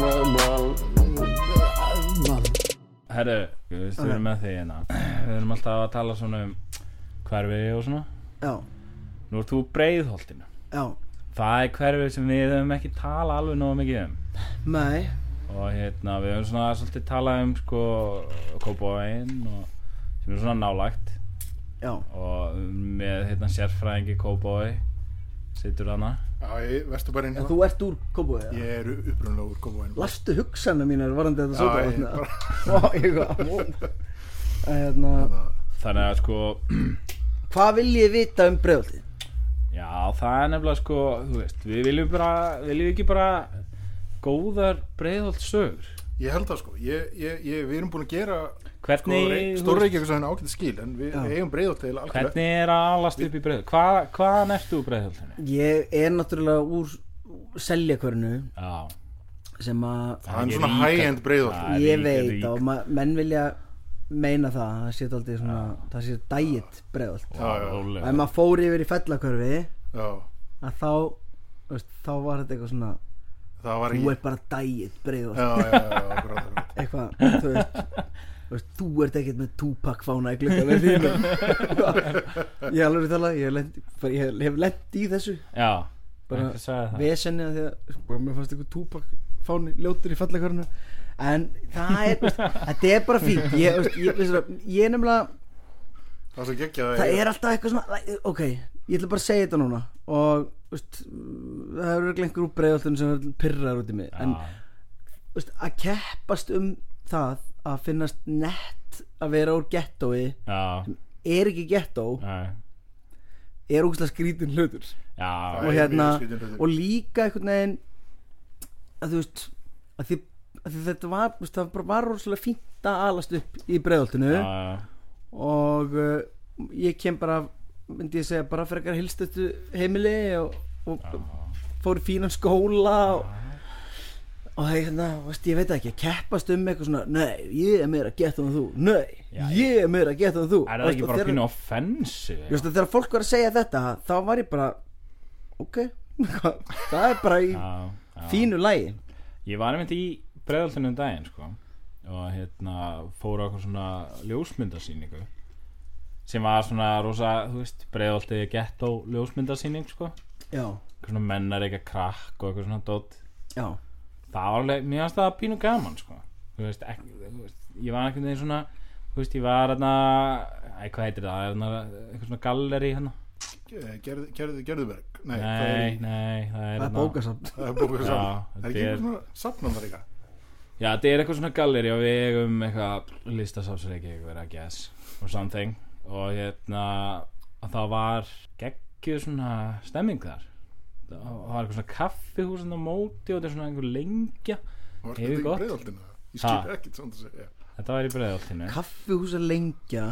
Speaker 6: Well, well,
Speaker 5: None.
Speaker 1: Herru, við veistum við erum með þig hérna Við erum alltaf að tala svona um hverfi og svona
Speaker 4: já,
Speaker 1: Nú ert þú úr breiðholtinu
Speaker 4: já
Speaker 1: Það er hverfi sem við höfum ekki tala alveg nógu mikið um
Speaker 4: Nei,
Speaker 1: Og hérna, við höfum svona svolítið talað um sko Kópavogin og sem er svona nálægt
Speaker 4: já,
Speaker 1: og með hérna sérfræðingi Kópavogi situr hana
Speaker 3: Já, ég verstu bara inn
Speaker 4: en þú ert úr Kópói
Speaker 3: Ég er upprunlega úr Kópavogin.
Speaker 4: Lastu hugsana mínar varandi þetta
Speaker 3: Já, ég
Speaker 4: sopa Vá, ég var vón Hérna,
Speaker 1: Þannig að sko
Speaker 4: hvað vil ég vita um bregðaldi?
Speaker 1: Já, það er nefnilega sko, þú veist, við viljum bara, viljum ekki bara góðar breiðholt sögur.
Speaker 3: Ég held það sko, ég, ég, ég, við erum búin að gera sko,
Speaker 1: Hvernig, þú veist,
Speaker 3: stórreikjöku sem hann ágæti skil en við
Speaker 4: Já.
Speaker 3: eigum breiðótt til algjörlega
Speaker 1: hvernig er að alast upp í breiðholt? Hva, hvaðan ertu úr breiðholtinu?
Speaker 4: Ég er náttúrulega úr seljakörnu
Speaker 1: Já,
Speaker 4: sem að
Speaker 3: Hann
Speaker 1: Ég
Speaker 3: er svona
Speaker 1: ríkar-
Speaker 3: high-end breiðótt
Speaker 1: Já. Það er
Speaker 4: ég
Speaker 1: rík-
Speaker 4: veit
Speaker 1: rík.
Speaker 4: og ma- menn vilja meina það það sé aldrei svona, það sé dæitt bregðald
Speaker 3: Já, já.
Speaker 1: rólega.
Speaker 4: og ef maður fór yfir í fellakörfi
Speaker 3: Já,
Speaker 4: að þá þú veist, þá var þetta eitthvað svona
Speaker 3: það var
Speaker 4: þú
Speaker 3: ég Já,
Speaker 4: ert bara dæið breið
Speaker 3: já, já, já, akkurat, akkurat.
Speaker 4: eitthvað, þú veist þú veist, þú ert ekkert með túpak fána í glugganum þínum ég alveg tala, ég, hef lent, bara, ég hef lendi í þessu
Speaker 1: Já,
Speaker 4: bara
Speaker 1: Einhver sagði það.
Speaker 4: vesenni að því að sko, mér fannst eitthvað túpak fáni ljótur í fallakörinu en það er þetta er bara fínt ég, ég, ég, ég, ég er nefnilega
Speaker 3: það er svo geggjað
Speaker 4: það er alltaf eitthvað svona ok, ég ætla bara að segja þetta núna og veist, það eru örugglega einhver úr breiðaltunum sem pyrrar út í mig en veist, að keppast um það að finnast nett að vera úr gettói
Speaker 1: Já,
Speaker 4: er ekki gettó,
Speaker 1: nei,
Speaker 4: er ógustlega skrítin hlutur
Speaker 1: já,
Speaker 3: Það
Speaker 4: og
Speaker 3: er
Speaker 4: hérna
Speaker 3: mjög skrýtin hlutur.
Speaker 4: og líka einhvern veginn að þú veist að því, að því þetta var, þú veist, það bara var rosalega fínt að alast upp í breiðaltinu
Speaker 1: já, já,
Speaker 4: og uh, ég kem bara af, myndi ég segja bara frekar hilstötu heimili og, og fór í fínan skóla og, og hei, hérna, veist, ég veit ekki að keppast um eitthvað svona nei, ég er meira gett en þú nei,
Speaker 1: Já,
Speaker 4: ég er meira gett en þú
Speaker 1: Er
Speaker 4: Veist,
Speaker 1: það ekki
Speaker 4: og
Speaker 1: bara
Speaker 4: þegar-
Speaker 1: pínu offensi?
Speaker 4: Ég veist að þegar fólk var að segja þetta þá var ég bara ok, það er bara í
Speaker 1: Já, já.
Speaker 4: fínu lægi
Speaker 1: Ég var einmitt í bregðaltinu um daginn sko, og hérna fór á eitthvað svona ljósmyndasýningu sem var svona rosa, þú veist, bregðalti gett á ljósmyndasýning sko, eitthvað
Speaker 4: já,
Speaker 1: svona mennar eitthvað krakk og eitthvað svona dótt
Speaker 4: já,
Speaker 1: það var alveg, mér finnst það pínu gaman sko. þú veist, ekki, þú veist, ég var einhvern veginn svona þú veist, ég var hérna æ, hvað heitir það, hérna, eitthvað svona galleri hérna,
Speaker 3: Eh, Gerð- Gerð- Gerðuberg nei, það er
Speaker 1: nei,
Speaker 3: í-
Speaker 1: nei það er
Speaker 4: það er
Speaker 1: hérna-
Speaker 4: bókasamt
Speaker 3: það er búið
Speaker 1: Já,
Speaker 3: saman það er ekki
Speaker 1: þetta er-
Speaker 3: einhvern veginn safnum þar eitthvað
Speaker 1: já, þetta er eitthvað svona galleri og við eigum eitthvað listasafsreiki, eitthvað I guess or something og hérna, og það var geggjuð svona stemming þar það var eitthvað svona kaffihús hérna á móti og þetta er svona einhver lengja Hefur
Speaker 3: var þetta ekki
Speaker 1: gott.
Speaker 3: breiðaldinu ég
Speaker 1: Ha.
Speaker 3: skil ekkert svona að segja
Speaker 1: þetta var í bregðaltinu
Speaker 4: kaffihúsa lengja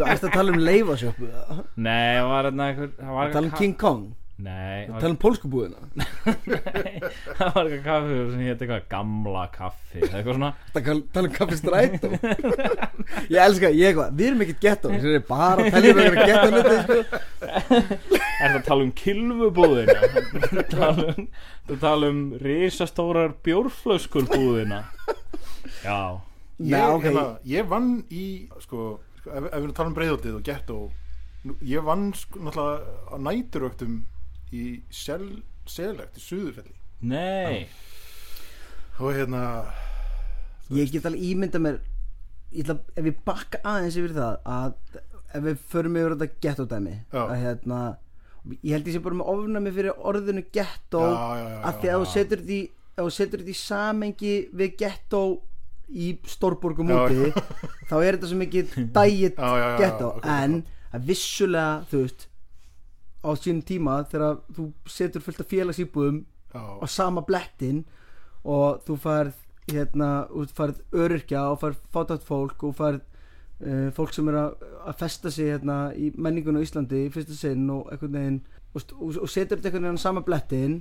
Speaker 4: Það er að tala um leifasjöpu Það
Speaker 1: nei, það var hérna einhver það var
Speaker 4: tala um
Speaker 1: eitthvað
Speaker 4: King Kong
Speaker 1: ka- nei, það var-
Speaker 4: Það tala um pólskubúðina
Speaker 1: Nei, það var eitthvað kaffi sem hétt eitthvað gamla kaffi eða eitthvað svona
Speaker 4: Það kal- tala um kaffi strætó Ég elska, ég eitthvað, við erum ekkert gettó Þessir er bara að tala um eitthvað gettó hluti sko.
Speaker 1: er það að tala um kilfubúðina Ertu að tala um, ertu að tala um risastórar bjórflöskur búðina já,
Speaker 4: Já,
Speaker 3: ég,
Speaker 4: ok.
Speaker 3: hérna, ég vann í sko, sko, ef, ef við erum að tala um breiðaldið og gett og ég vann sko, náttúrulega á næturöktum í sel, selegt í Suðurfelli
Speaker 1: nei
Speaker 3: og hérna
Speaker 4: Ég get alveg ímynda mér ég ætla, Ef ég bakka aðeins yfir það að Ef við förum yfir þetta gettó dæmi
Speaker 3: Já.
Speaker 4: Að hérna Ég held ég sé bara með ofnami fyrir orðinu gettó
Speaker 3: Já, já, já, já,
Speaker 4: Af því að þú setur því Ef þú setur því samengi við gettó Í stórborgum
Speaker 3: Já,
Speaker 4: úti Þá er þetta svo mikið dægit
Speaker 3: Já, já, já,
Speaker 4: gettó
Speaker 3: ok,
Speaker 4: En að vissulega, þú veist Á sínum tíma þegar þú setur fullt af félagsýbúðum á
Speaker 3: já,
Speaker 4: sama blettin og þú farð hérna, og þú farð öryrkja og farð fátátt fólk og farð uh, fólk sem er að, að festa sig hérna í menningunum á Íslandi í fyrsta sinn og einhvern veginn og, st- og, og setur þetta einhvern veginn á sama blettin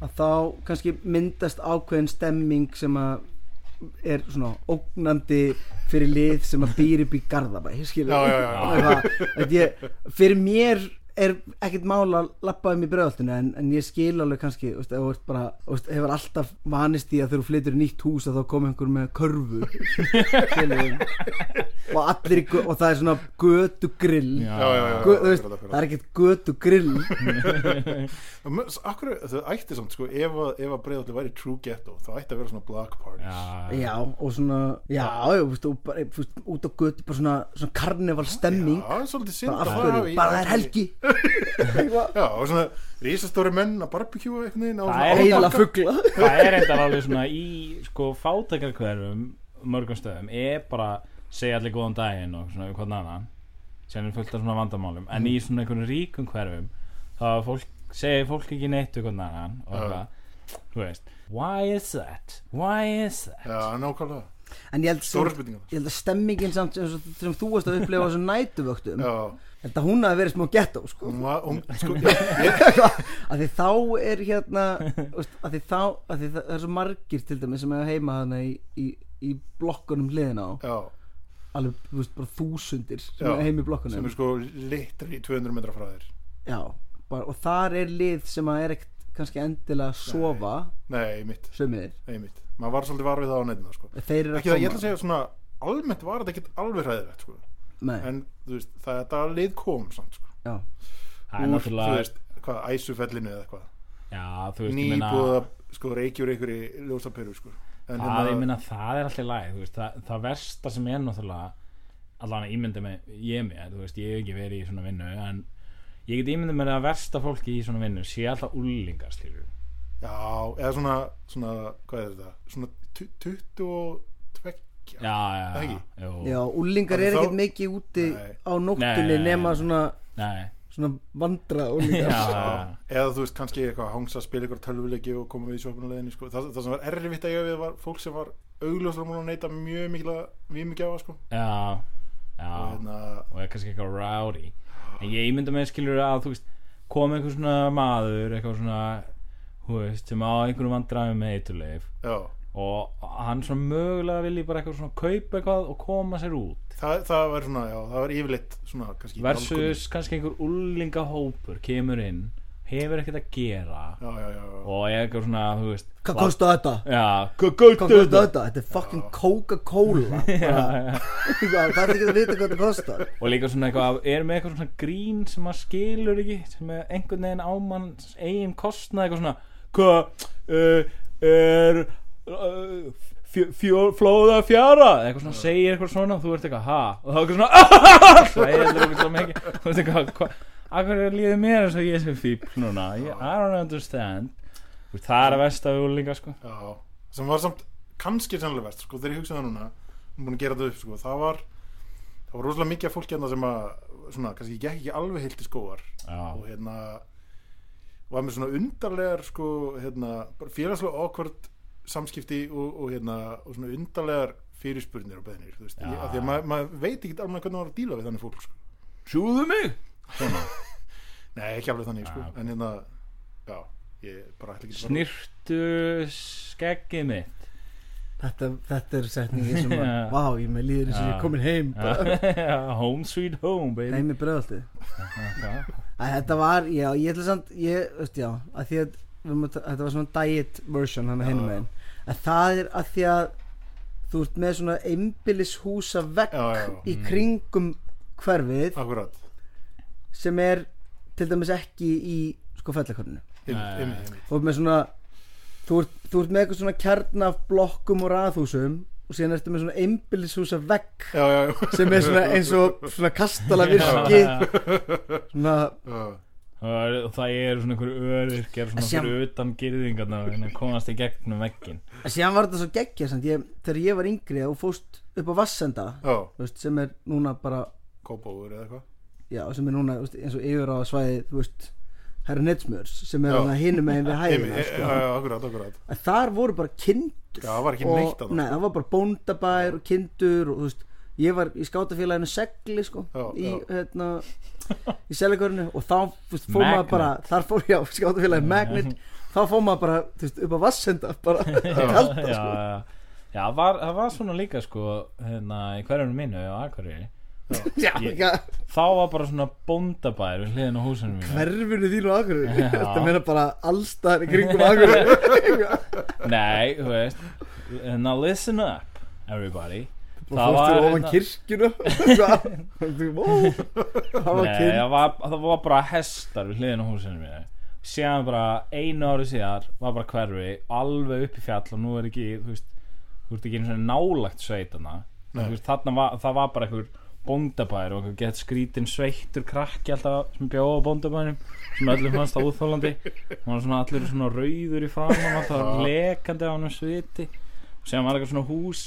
Speaker 4: að þá kannski myndast ákveðin stemming sem að er svona ógnandi fyrir lið sem að býr upp í garðabæ skilur
Speaker 3: Já, já, já.
Speaker 4: Eitthvað, að ég, fyrir mér er ekkert mál að lappa um í bröðaltinu en, en ég skil alveg kannski þú veist, ef þú ert bara, þú veist, hefur alltaf vanist í að þegar þú flytur í nýtt hús að þá kom einhver með körfu Skilurðu? og allir í gö- og það er svona götu grill
Speaker 1: já,
Speaker 3: já, já, já,
Speaker 4: Gö, þú veist,
Speaker 3: akkurat, akkurat.
Speaker 4: það er ekkert götu grill
Speaker 3: Og mö- s- Akkur, það ætti samt sko, ef, að- ef að breiðaldið væri true ghetto þá ætti að vera svona black parties
Speaker 1: já,
Speaker 4: já og svona já, já, þú veist, og bara, þú veist, út á götu bara svona, svona karneval stemming
Speaker 3: það er svolítið synd að
Speaker 4: bara af
Speaker 3: það
Speaker 4: hverju,
Speaker 3: hafi-
Speaker 4: bara það er helgi
Speaker 3: já, og svona risastóri menn að barbekjúa einhvern veginn á
Speaker 1: Það
Speaker 3: svona
Speaker 1: er
Speaker 3: árbakka.
Speaker 4: heila fugla
Speaker 1: það er eitthvað alveg svona í sko fátakarkverfum mörgum stöðum er bara segja allir góðan daginn og svona hvernig annan sem er fullt af svona vandamálum en í svona einhvern ríkum hverfum þá er fólk, segir fólk ekki neitt hvernig annan og
Speaker 3: Já.
Speaker 1: eitthvað þú veist, why is that? why is that?
Speaker 3: já, nákvæmlega,
Speaker 4: en ég held,
Speaker 3: stóra
Speaker 4: sem,
Speaker 3: spurningar
Speaker 4: ég held að stemmingin samt sem, sem þú varst að upplefa á þessum nætuvöktum
Speaker 3: já,
Speaker 4: held að hún hafi verið smá gettó sko.
Speaker 3: hún var hún, sko,
Speaker 4: að því þá er hérna veist, að því þá, að því það það er svo margir til dæmis sem hefur heima þarna í, í, í blokkunum hliðin á
Speaker 3: já,
Speaker 4: alveg, þú veist, bara þúsundir sem
Speaker 3: Já,
Speaker 4: hefur heima í blokkunum
Speaker 3: sem er sko litri 200 metra frá þér
Speaker 4: Já, bara, og þar er lið sem að er ekkert kannski endilega að sofa
Speaker 3: nei, mitt,
Speaker 4: sömur,
Speaker 3: nei, mitt maður var svolítið var við það á netina sko.
Speaker 4: þeir eru að
Speaker 3: ekki það, ég ætla að segja svona almennt var þetta ekkert alveg hræðilegt sko.
Speaker 4: Nei,
Speaker 3: en þú veist, það, þetta lið kom samt, sko.
Speaker 4: já,
Speaker 1: það er
Speaker 3: Úr, þú
Speaker 1: náttúrulega
Speaker 3: veist, hvað, æsufellinu eða eitthvað
Speaker 1: Já, þú veist, ég meina-
Speaker 3: nýbúða sko reykjur ykkur í ljósaperu sko en
Speaker 1: það, ég meina, það er alltaf læg veist, það, það versta sem er náttúrulega allan að ímynda með ég mér þú veist, ég hef ekki verið í svona vinnu en ég get ímynda mér að versta fólki í svona vinnu sé alltaf úlingar skilur
Speaker 3: já, eða svona, svona hvað er þetta, svona tu- 22
Speaker 1: já, já, já,
Speaker 3: Það ekki?
Speaker 1: jú.
Speaker 4: Já, úlingar
Speaker 3: Þannig
Speaker 4: er
Speaker 3: þá-
Speaker 4: ekkert mikið úti
Speaker 3: Nei.
Speaker 4: á nóttinni
Speaker 1: Nei.
Speaker 4: nema svona,
Speaker 1: nei,
Speaker 4: svona vandra
Speaker 1: já,
Speaker 4: úlingar
Speaker 1: já, já.
Speaker 3: Já. eða þú veist kannski eitthvað hangsa að spila ykkur tölvuleiki og koma við í sjópunuleginni sko. það, það sem var erfitt að eiga við var fólk sem var augljóslega múin að neyta mjög mikla við mikið á sko.
Speaker 1: já, já.
Speaker 3: og hérna,
Speaker 1: og er kannski eitthvað rowdy en ég ímynda mér skilur að þú veist kom einhver svona maður eitthvað svona, þú veist, sem á einhverjum vandræmi með eiturleif
Speaker 3: já
Speaker 1: og hann svona mögulega vilji bara eitthvað svona kaupa eitthvað og koma sér út
Speaker 3: það, það var svona, já, það var yfirleitt svona kannski nálgunin.
Speaker 1: versus kannski einhver úlingahópur kemur inn, hefur ekkert að gera
Speaker 3: já, já, já, já.
Speaker 1: og er eitthvað svona, þú veist
Speaker 4: Hvað kostu þetta?
Speaker 1: Já,
Speaker 4: Hvað kostu
Speaker 1: gautu
Speaker 4: þetta? Þetta er fucking Coca-Cola Bara- Það er ekki að vita hvað þetta kostar
Speaker 1: og líka svona eitthvað, er með eitthvað svona grín sem maður skilur ekki, sem er einhvern veginn ámann eigin kostnað eitthvað svona hvað uh, er uh, fjó, fjó, flóða fjara eitthvað svona, segir eitthvað svona og þú ert eitthvað, ha og þá er eitthvað svona hlæðir eitthvað svo mikið þú ert eitthvað, hvað Akkur er líðið mér eins og ég sem fíbl núna Ég- I don't understand Þú veist, Það er að versta við úlinga sko
Speaker 3: Já, sem var samt kannski sennilega verst, sko, þegar ég hugsaði það núna ég er búin að gera þetta upp, sko, það var það var rosalega mikið af fólki hérna sem að svona, kannski gekk ekki alveg heilt í skóar
Speaker 1: Já,
Speaker 3: og hérna var með svona undarlegar, sko, hérna bara félagslega awkward samskipti og, og hérna, og svona undarlegar fyrirspurnir og beðnir, þú veist
Speaker 1: Já.
Speaker 3: ég, af því að maður mað veit ekki alveg hvernig maður á að díla við þannig fólk, sko,
Speaker 1: sjúðu mig
Speaker 3: nei, ekki alveg þannig, sko
Speaker 1: Já, ok.
Speaker 3: en hérna, já, ég bara ætla ekki að fara-
Speaker 1: Snýrtu skeggið mitt
Speaker 4: Þetta, þetta er setningi sem að,
Speaker 1: Já.
Speaker 4: vá, ég með líður eins og ég
Speaker 1: Já.
Speaker 4: er komin heim bara.
Speaker 1: Já, home sweet home baby
Speaker 4: Heim í bregðaltið
Speaker 1: Já,
Speaker 4: Æ, Þetta var, já, ég ætla samt, ég, veist, já, að því að, við erum að ta- þetta var svona diet version hann að hinum meginn Að það er að því að þú ert með svona einbýlishúsa vekk
Speaker 3: Já, já, já.
Speaker 4: í kringum hverfið
Speaker 3: akkurat,
Speaker 4: sem er til dæmis ekki í sko fellakorninu
Speaker 3: inn,
Speaker 1: Nei.
Speaker 3: inn, inn,
Speaker 4: þú ert með svona þú ert, þú ert með eitthvað svona kjarn af blokkum og raðhúsum og síðan ertu með svona einbýlishúsa vegg
Speaker 3: já, já, já.
Speaker 4: sem er svona eins og svona kastala virki svona
Speaker 3: Já,
Speaker 1: Það er- það eru svona einhverju öryrkjar svona
Speaker 4: Sem-
Speaker 1: fyrir utan gyrðingarna að komast í gegnum veggin
Speaker 4: en síðan var þetta svo geggja samt ég, þegar ég var yngri og fóst upp á Vassenda
Speaker 3: já,
Speaker 4: þú veist, sem er núna bara
Speaker 3: kópáður eða eitthvað
Speaker 4: já, sem er núna þú veist, eins og yfir á svæði þú veist herra Netsmjörs sem er
Speaker 3: Já.
Speaker 4: hann að hinum megin við
Speaker 3: Einmitt,
Speaker 4: hæðina
Speaker 3: e-
Speaker 4: sko.
Speaker 3: Já, já, akkurat, akkurat
Speaker 4: að þar voru bara kindur
Speaker 3: Já, það var ekki neitt
Speaker 4: og,
Speaker 3: að það
Speaker 4: nei, það var bara bóndabær og kindur og þú veist, ég var í skátafélaginu segli sko,
Speaker 3: Já,
Speaker 4: í,
Speaker 3: já.
Speaker 4: hérna í selikörinu og þá þú veist, fór maður
Speaker 1: Magnet.
Speaker 4: bara, þar fór já, skátafélaginu Magnet, þá fór maður bara þú veist, upp á vassenda, bara kalda
Speaker 1: já,
Speaker 4: sko.
Speaker 1: já. já það var, það var svona líka sko hérna, í hverjum mínu á Akureyri
Speaker 4: já,
Speaker 1: Ég-
Speaker 4: já,
Speaker 1: þá var bara svona bóndabær við hliðin á húsinu mínu
Speaker 4: verfinu þínu á akkur
Speaker 1: Já.
Speaker 4: þetta meina bara allstaðar í kringum akkur
Speaker 1: nei, þú veist now listen up everybody
Speaker 4: það var ofan
Speaker 1: hérna-
Speaker 4: kirkjunu Hvað? Þú- vó. það var
Speaker 1: Nei,
Speaker 4: kind
Speaker 1: það var, það var bara hestar við hliðin á húsinu mínu síðan bara einu ári síðar var bara hverfi alveg upp í fjall og nú er ekki þú veist, þú ert ekki einu svona nálagt sveitana
Speaker 3: Nei.
Speaker 1: veist, þarna var, það var bara einhver bóndabær og einhver gett skrítin sveittur krakki alltaf sem bjóða á bóndabærum sem öllum fannst á úþólandi hann var svona allir svona rauður í framann
Speaker 4: Ah.
Speaker 1: alltaf lekandi á hann sviti og síðan var eitthvað svona hús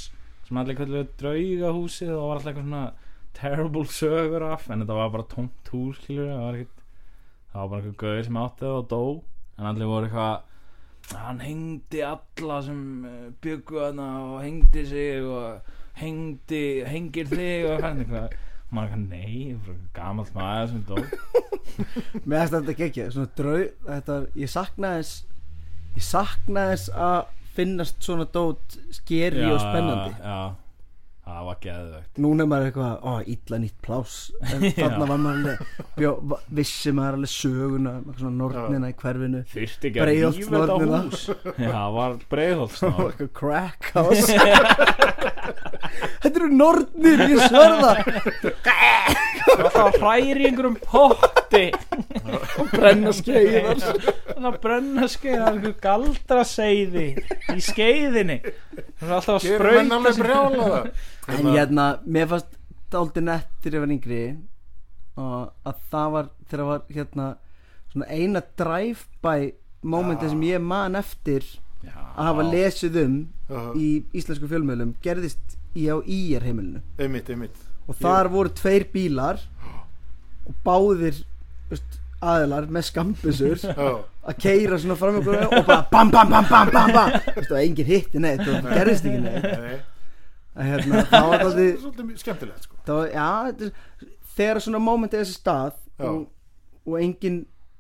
Speaker 1: sem allir kallir draugahúsið og það var alltaf eitthvað svona terrible sögur af en þetta var bara tómt hús skilur það var ekkert það var bara einhver gauður sem átti það og dó en allir voru eitthvað hann hengdi alla sem byggu hana og hengdi sig og hengdi hengir þig og hann eitthvað maður eitthvað nei, bara eitthvað gamalt maður sem dó
Speaker 4: Mér finnst þetta gekkja, svona draug þetta, ég saknaði þess ég saknaði þess að finnast svona dót skeri og spennandi
Speaker 1: já, það var geðvögt
Speaker 4: Núna er maður eitthvað, ó, illa nýtt plás en þarna var maður alveg bjó, va- vissi maður alveg söguna maður svona nornina í hverfinu
Speaker 1: þurfti ekki að rífa þetta
Speaker 4: Breiðholtsnornina.
Speaker 1: hús já, það var
Speaker 4: og
Speaker 1: breiðholtsnorn
Speaker 4: eitthvað crack house Þetta eru nornir, ég sverða
Speaker 1: það var hræri í einhverjum potti
Speaker 4: og brenna skeiðar
Speaker 1: hérna brennaskeið af einhver galdra seiði í skeiðinni það er alltaf að
Speaker 3: Gerum menn
Speaker 1: sprauta
Speaker 3: alveg
Speaker 1: sig-
Speaker 3: brjálaða
Speaker 4: En hérna, mér fannst dálítið nett þegar ég var yngri og að það var þegar var hérna svona eina drive-by momenti sem ég man eftir að hafa lesið um
Speaker 3: Já.
Speaker 4: í íslensku fjölmiðlum gerðist í á íjar heimilinu
Speaker 3: Einmitt, einmitt
Speaker 4: og þar voru tveir bílar og báðir veist, aðilar með skambisur
Speaker 3: Já,
Speaker 4: að keira svona fram ykkur og bara bam bam bam bam bam bam Vistu, og enginn hitti neitt og það gerðist ekki neitt
Speaker 3: nei
Speaker 4: að hérna, það var
Speaker 3: Það
Speaker 4: þátti
Speaker 3: er svolítið skemmtilegt sko
Speaker 4: það var, já, þetta er- þegar svona moment er þessi stað
Speaker 3: Já.
Speaker 4: og, og enginn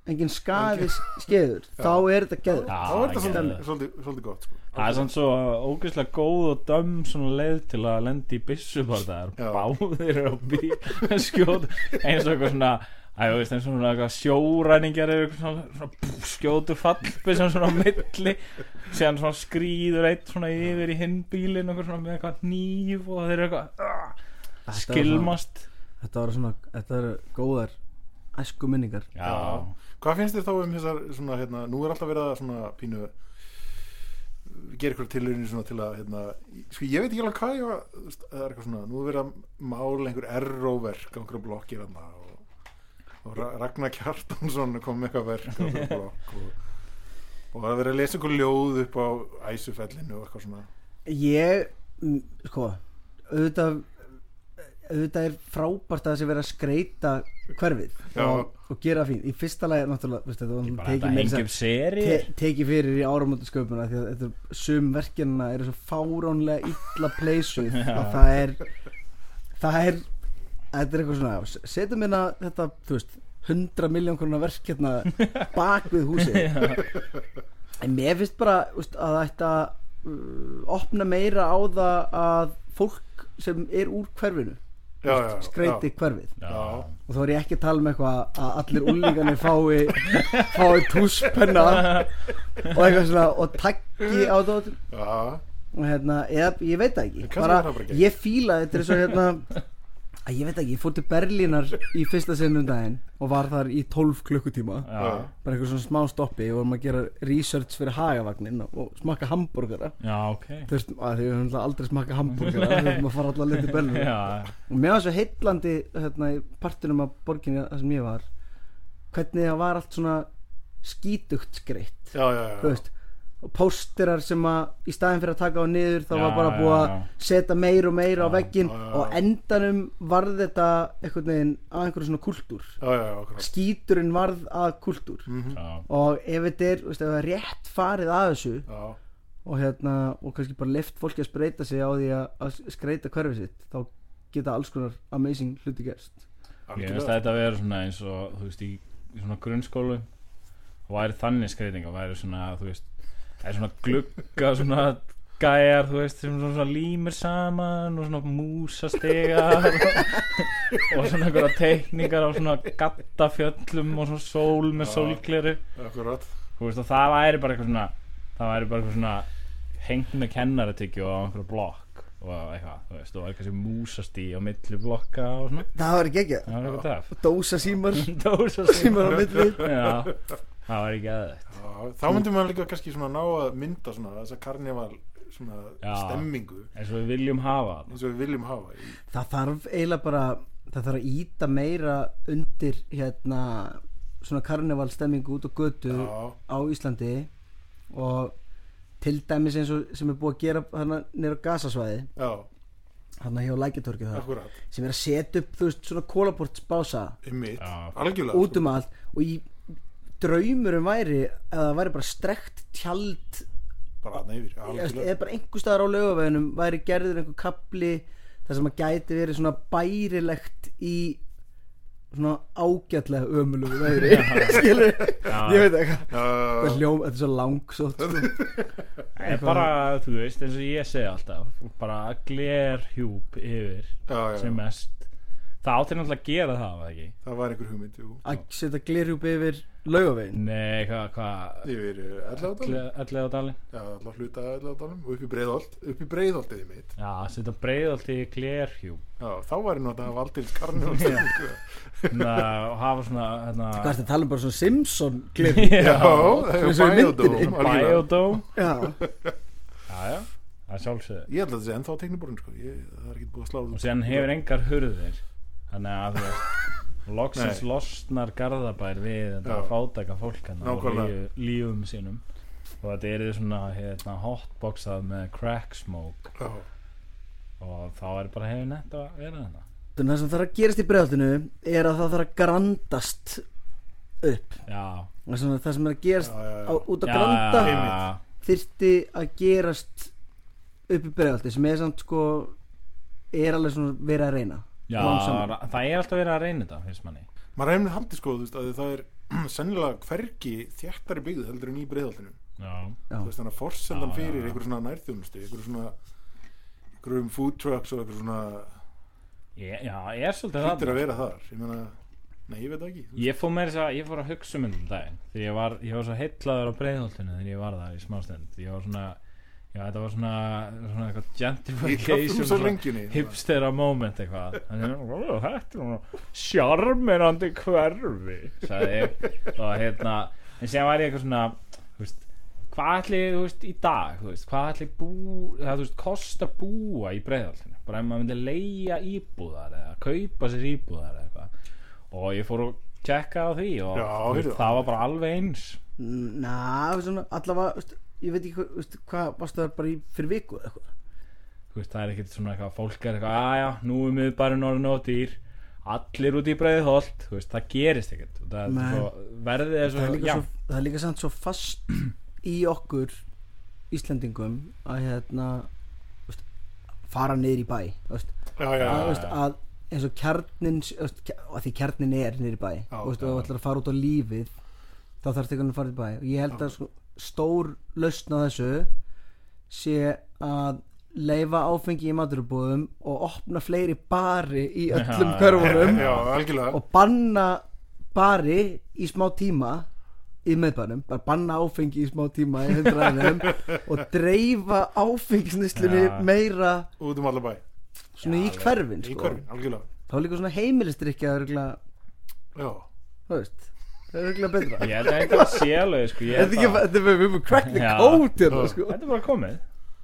Speaker 4: engin skaði skeður þá er þetta geður
Speaker 1: Já,
Speaker 3: Þá er þetta
Speaker 1: ég gerði
Speaker 3: svolítið,
Speaker 1: það.
Speaker 3: svolítið, svolítið gott sko
Speaker 1: það er samt svo ógeðslega góð og döm svona leið til að lendi í byssum þar
Speaker 3: Já.
Speaker 1: báðir á bíl skjóð eins og eitthvað svona Æ, þú veist, eins og svona eitthvað sjóræningjar eða eitthvað svona, svona pff, skjótu fallbi sem svona á milli síðan svona skrýður eitt svona yfir í hinn bílinn og eitthvað svona með eitthvað nýf og þeir eru eitthvað ah, skilmast
Speaker 4: þetta var svona, þetta eru góðar æsku minningar
Speaker 1: Já,
Speaker 3: Hvað finnst þér þá um þessar svona, hérna, nú er alltaf verið að svona pínu uh, gera ykkur tilurinn svona til að hérna, í- sko ég veit ekki alveg hvað ég var þú veist, það er eitthvað svona, nú er verið að mála einhver erróverk á einhverja blokkir hana og, og Ra- Ragnar Kjartansson kom með eitthvað verk á einhverja blokk og, og það er verið að lesa einhver ljóð upp á æsufellinu og eitthvað svona
Speaker 4: ég, mm, sko auðvitað auðvitað er frábært að þessi verið að skreita hverfið
Speaker 3: Já.
Speaker 4: og, og gera fín í fyrsta lagi er náttúrulega, veist, þetta
Speaker 1: bara
Speaker 4: var
Speaker 1: þetta
Speaker 4: tekið meira
Speaker 1: hengjum
Speaker 4: sem-
Speaker 1: seri
Speaker 4: te- tekið fyrir í áramótasköpuna því að þetta er- sum verkefnina eru svo fáránlega illa pleysuð að það er það er þetta er eitthvað svona, já, s- setjum hérna þetta, þú veist, 100 miljón krona verk hérna bak við húsið en mér finnst bara úst, að það ætti að uh, opna meira á það að fólk sem er úr hverfinu
Speaker 3: já, já, já,
Speaker 4: skreiti hverfið
Speaker 3: já,
Speaker 4: og þá er ég ekki að tala um eitthvað að allir úlingarnir fái fái túspenna og eitthvað svona og takki á dótt
Speaker 3: já,
Speaker 4: og hérna, eða, ég veit það ekki
Speaker 3: Kannski var það bara ekki.
Speaker 4: ég fíla þetta er svo hérna að ég veit ekki, ég fór til Berlínar í fyrsta sinnum daginn og var þar í 12 klukkutíma
Speaker 1: Já,
Speaker 4: bara eitthvað svona smá stoppi og varum að gera research fyrir hagavagnin og smakka hambúrgara
Speaker 1: já, ok
Speaker 4: þú veist, að því við höfum aldrei smakka hambúrgara við höfum að fara allar leið til Berlínar
Speaker 1: Já,
Speaker 4: og mér var svo heitlandi hérna, í partunum af borginni þar sem ég var hvernig það var allt svona skítugt skreitt
Speaker 3: já, já,
Speaker 4: þú
Speaker 3: já.
Speaker 4: veist og pósterar sem að í staðin fyrir að taka á niður þá
Speaker 1: Já,
Speaker 4: var bara búið
Speaker 1: já,
Speaker 4: að
Speaker 1: já.
Speaker 4: setja meir og meir á veggin
Speaker 3: já, já, já.
Speaker 4: og á endanum varð þetta einhvern veginn að einhverju svona kultúr
Speaker 3: já, já, já, akkurat.
Speaker 4: skíturinn varð að kultúr
Speaker 1: já,
Speaker 4: og ef þetta er, þú veist, ef það er rétt farið að þessu
Speaker 3: já,
Speaker 4: og hérna og kannski bara lift fólki að spreita sig á því að, að skreita hverfið sitt þá geta alls konar amazing hluti gerst
Speaker 1: Ég veist að þetta verður svona eins og þú veist í, í svona grunnskólu og væri þannig skreitinga væri svona þú veist það er svona glugga svona gæjar þú veist sem svona, svona límir saman og svona músastegar og, og svona einhverja teikningar á svona gattafjöllum og svona sól með sólgleru
Speaker 3: akkurat
Speaker 1: þú veist og það væri bara eitthvað svona það væri bara eitthvað svona hengt með kennaratyggju á einhverja blokk og eitthvað þú veist og væri kannski músastí á milli blokka og svona
Speaker 4: það var ekki ekki
Speaker 1: það var eitthvað dæf
Speaker 4: dósa símar
Speaker 1: dósastíma
Speaker 4: símar á milli
Speaker 1: Já, það var ekki aðeitt
Speaker 3: Já, þá myndum maður líka kannski svona ná að mynda svona þessa karnival svona
Speaker 1: Já.
Speaker 3: stemmingu
Speaker 1: eins og við viljum hafa það.
Speaker 3: eins og við viljum hafa í,
Speaker 4: það þarf eiginlega bara það þarf að íta meira undir hérna svona karnevalstemmingu út á götu
Speaker 3: Já.
Speaker 4: á Íslandi og til dæmis eins og sem er búið að gera hérna nýra gasasvæði
Speaker 3: Já,
Speaker 4: hérna hjá lækjartorkið þar
Speaker 3: akkurat,
Speaker 4: sem er að setja upp þú veist svona kólaportsbása
Speaker 3: um mitt
Speaker 1: Já.
Speaker 3: algjörlega
Speaker 4: út um allt og í draumurum væri að það væri bara strekt tjald
Speaker 3: sko, bara að neyfir
Speaker 4: eða
Speaker 3: algjörlega,
Speaker 4: bara einhver staðar á lögaveginum væri gerður einhver kapli þar sem að gæti verið svona bærilegt í svona ágætlega ömulugu veðri skilur, ég veit ekki
Speaker 3: Já,
Speaker 4: hvað hljóm, þetta er svo langsótt sko.
Speaker 1: En bara, þú veist, eins og ég segi alltaf bara gler hjúp yfir
Speaker 3: Já, já, já.
Speaker 1: sem mest Það átti náttúrulega að gera það, var það ekki?
Speaker 3: það var einhver hugmynd jú.
Speaker 4: að setja glerjúb yfir laugavegin
Speaker 1: Nei, hvað, hvað
Speaker 3: yfir eh, Elláðdalum
Speaker 1: Ellið á dalin
Speaker 3: allar hluta Elláðdalum og upp í Breiðholt upp í Breiðholtið í mitt
Speaker 1: Já, setja breiðaldi í glerhjúb
Speaker 3: já, þá var ég nú að það var aldrei karnum
Speaker 1: Ná, og hafa svona hérna,
Speaker 4: Hvað ertu að tala um bara svona Simpson glerjúb?
Speaker 3: Já,
Speaker 1: Já,
Speaker 3: það
Speaker 4: eins og í
Speaker 3: er
Speaker 4: myndinni.
Speaker 3: bæjódóm algjörlega.
Speaker 1: Biodome
Speaker 4: Já,
Speaker 1: Já, já, það er sjálfsögð
Speaker 3: Ég held að það sé ennþá tekniborun sko. ég, Það er ekki búið að slá
Speaker 1: Og síðan hefur engar hurðir Þannig að þú veist Loksins losnar Garðabær við þetta
Speaker 3: Já.
Speaker 1: fátaka fólk hann og
Speaker 3: Nákvæmlega.
Speaker 1: líf, lífum sínum og þetta er svona hérna, hotboxað með crack smoke
Speaker 3: Já,
Speaker 1: og þá er bara hefur nett að vera þetta
Speaker 4: það sem þarf að gerast í bregðaltinu er að það þarf að grandast upp
Speaker 1: Já,
Speaker 4: Það sem, það sem er að gerast
Speaker 3: Já, já, já.
Speaker 4: á, út á
Speaker 1: já,
Speaker 4: granda
Speaker 1: já, já.
Speaker 4: þyrfti að gerast upp í bregðalti sem er samt sko er alveg svona verið að reyna
Speaker 1: Já,
Speaker 4: Lánsamur.
Speaker 1: ra- það er alltaf verið að reyna þetta, finnst manni
Speaker 3: maður hefnir haldið sko þú veist, að það er sennilega hvergi þjættari byggð heldur en í Breiðholtinu
Speaker 1: Já,
Speaker 4: Já.
Speaker 3: Þú veist, Þannig að forsendan
Speaker 1: Já, já,
Speaker 3: fyrir
Speaker 1: já.
Speaker 3: einhver svona nærþjónustu einhver svona einhverjum food trucks og einhver svona
Speaker 1: ég, já ég er svolítið
Speaker 3: hýttir að
Speaker 1: það
Speaker 3: vera þar Ég meina, nei ég veit það ekki Þú veist,
Speaker 1: Ég fór meira þess að, ég fór að hugsa um þetta um daginn Þegar ég var, ég var svo heitlaður á breiðholtinu Þegar ég var það í smástund Ég var svona, já þetta var svona Svona eitthvað
Speaker 3: Ég kallum
Speaker 1: gentrification
Speaker 3: svo
Speaker 1: svona
Speaker 3: lengjunni
Speaker 1: Hipstera moment eitthvað Þannig að "Ó, þetta er nú Sjarmirandi hverfi Sagði ég Og hérna, en séðan var ég eitthvað svona Þú veist, hvað ætli, þú veist, í dag Þú veist, hvað ætli bú Það, þú veist, kosta búa í breiðaltinu Bara ef maður myndi leigja íbúðar Eða kaupa sér íbúðar eða eitthvað Og ég fór og tjekka á því Og
Speaker 3: Já,
Speaker 1: þú
Speaker 3: heyrðu.
Speaker 1: það var bara alveg eins
Speaker 4: Ná, svona, allavega veist, ég veit ekki hvað, veist, hvað varstu það bara í fyrir viku eða eitthvað
Speaker 1: Þú veist, það er ekkert svona eitthvað Fólk er eitthvað, aðja, nú er miður bara norðin og dýr Allir út í breiðholt Þú veist, það gerist ekkert Og það,
Speaker 4: Nei.
Speaker 1: er svo, Verðið er
Speaker 4: það
Speaker 1: svo,
Speaker 4: er, líka
Speaker 1: já,
Speaker 4: svo, það er líka samt svo fast í okkur Íslendingum að hérna veist, fara niður í bæ veist,
Speaker 3: Já, já,
Speaker 4: að,
Speaker 3: já,
Speaker 4: veist, að eins og kjarnin veist, kja- að því kjarnin er niður í bæ
Speaker 3: Já,
Speaker 4: veist,
Speaker 1: já.
Speaker 4: og þú ætlar að fara út á lífið þá þarf þetta að fara í bæ og ég held að sko, stór lausn á þessu sé að leifa áfengi í maturubúðum og opna fleiri bari í öllum
Speaker 1: Já, um.
Speaker 4: körfunum
Speaker 3: já, algjörlega
Speaker 4: og banna bari í smá tíma í meðbænum, bara banna áfengi í smá tíma í hundraðinum og dreifa áfengisnislunni
Speaker 1: Já.
Speaker 4: meira
Speaker 3: Út um alla bæ
Speaker 4: svona í hverfin
Speaker 3: Í
Speaker 4: sko.
Speaker 3: hverfin, algjörlega
Speaker 4: þá er líka svona heimilistrykja það
Speaker 3: Já,
Speaker 4: veist það er örgulega betra
Speaker 1: ég held að eitthvað sé alveg sko, ég
Speaker 4: Þetta er ekki,
Speaker 1: bara-
Speaker 4: þetta er við erum crack the
Speaker 1: Já.
Speaker 4: code hérna sko
Speaker 1: Þetta er bara komið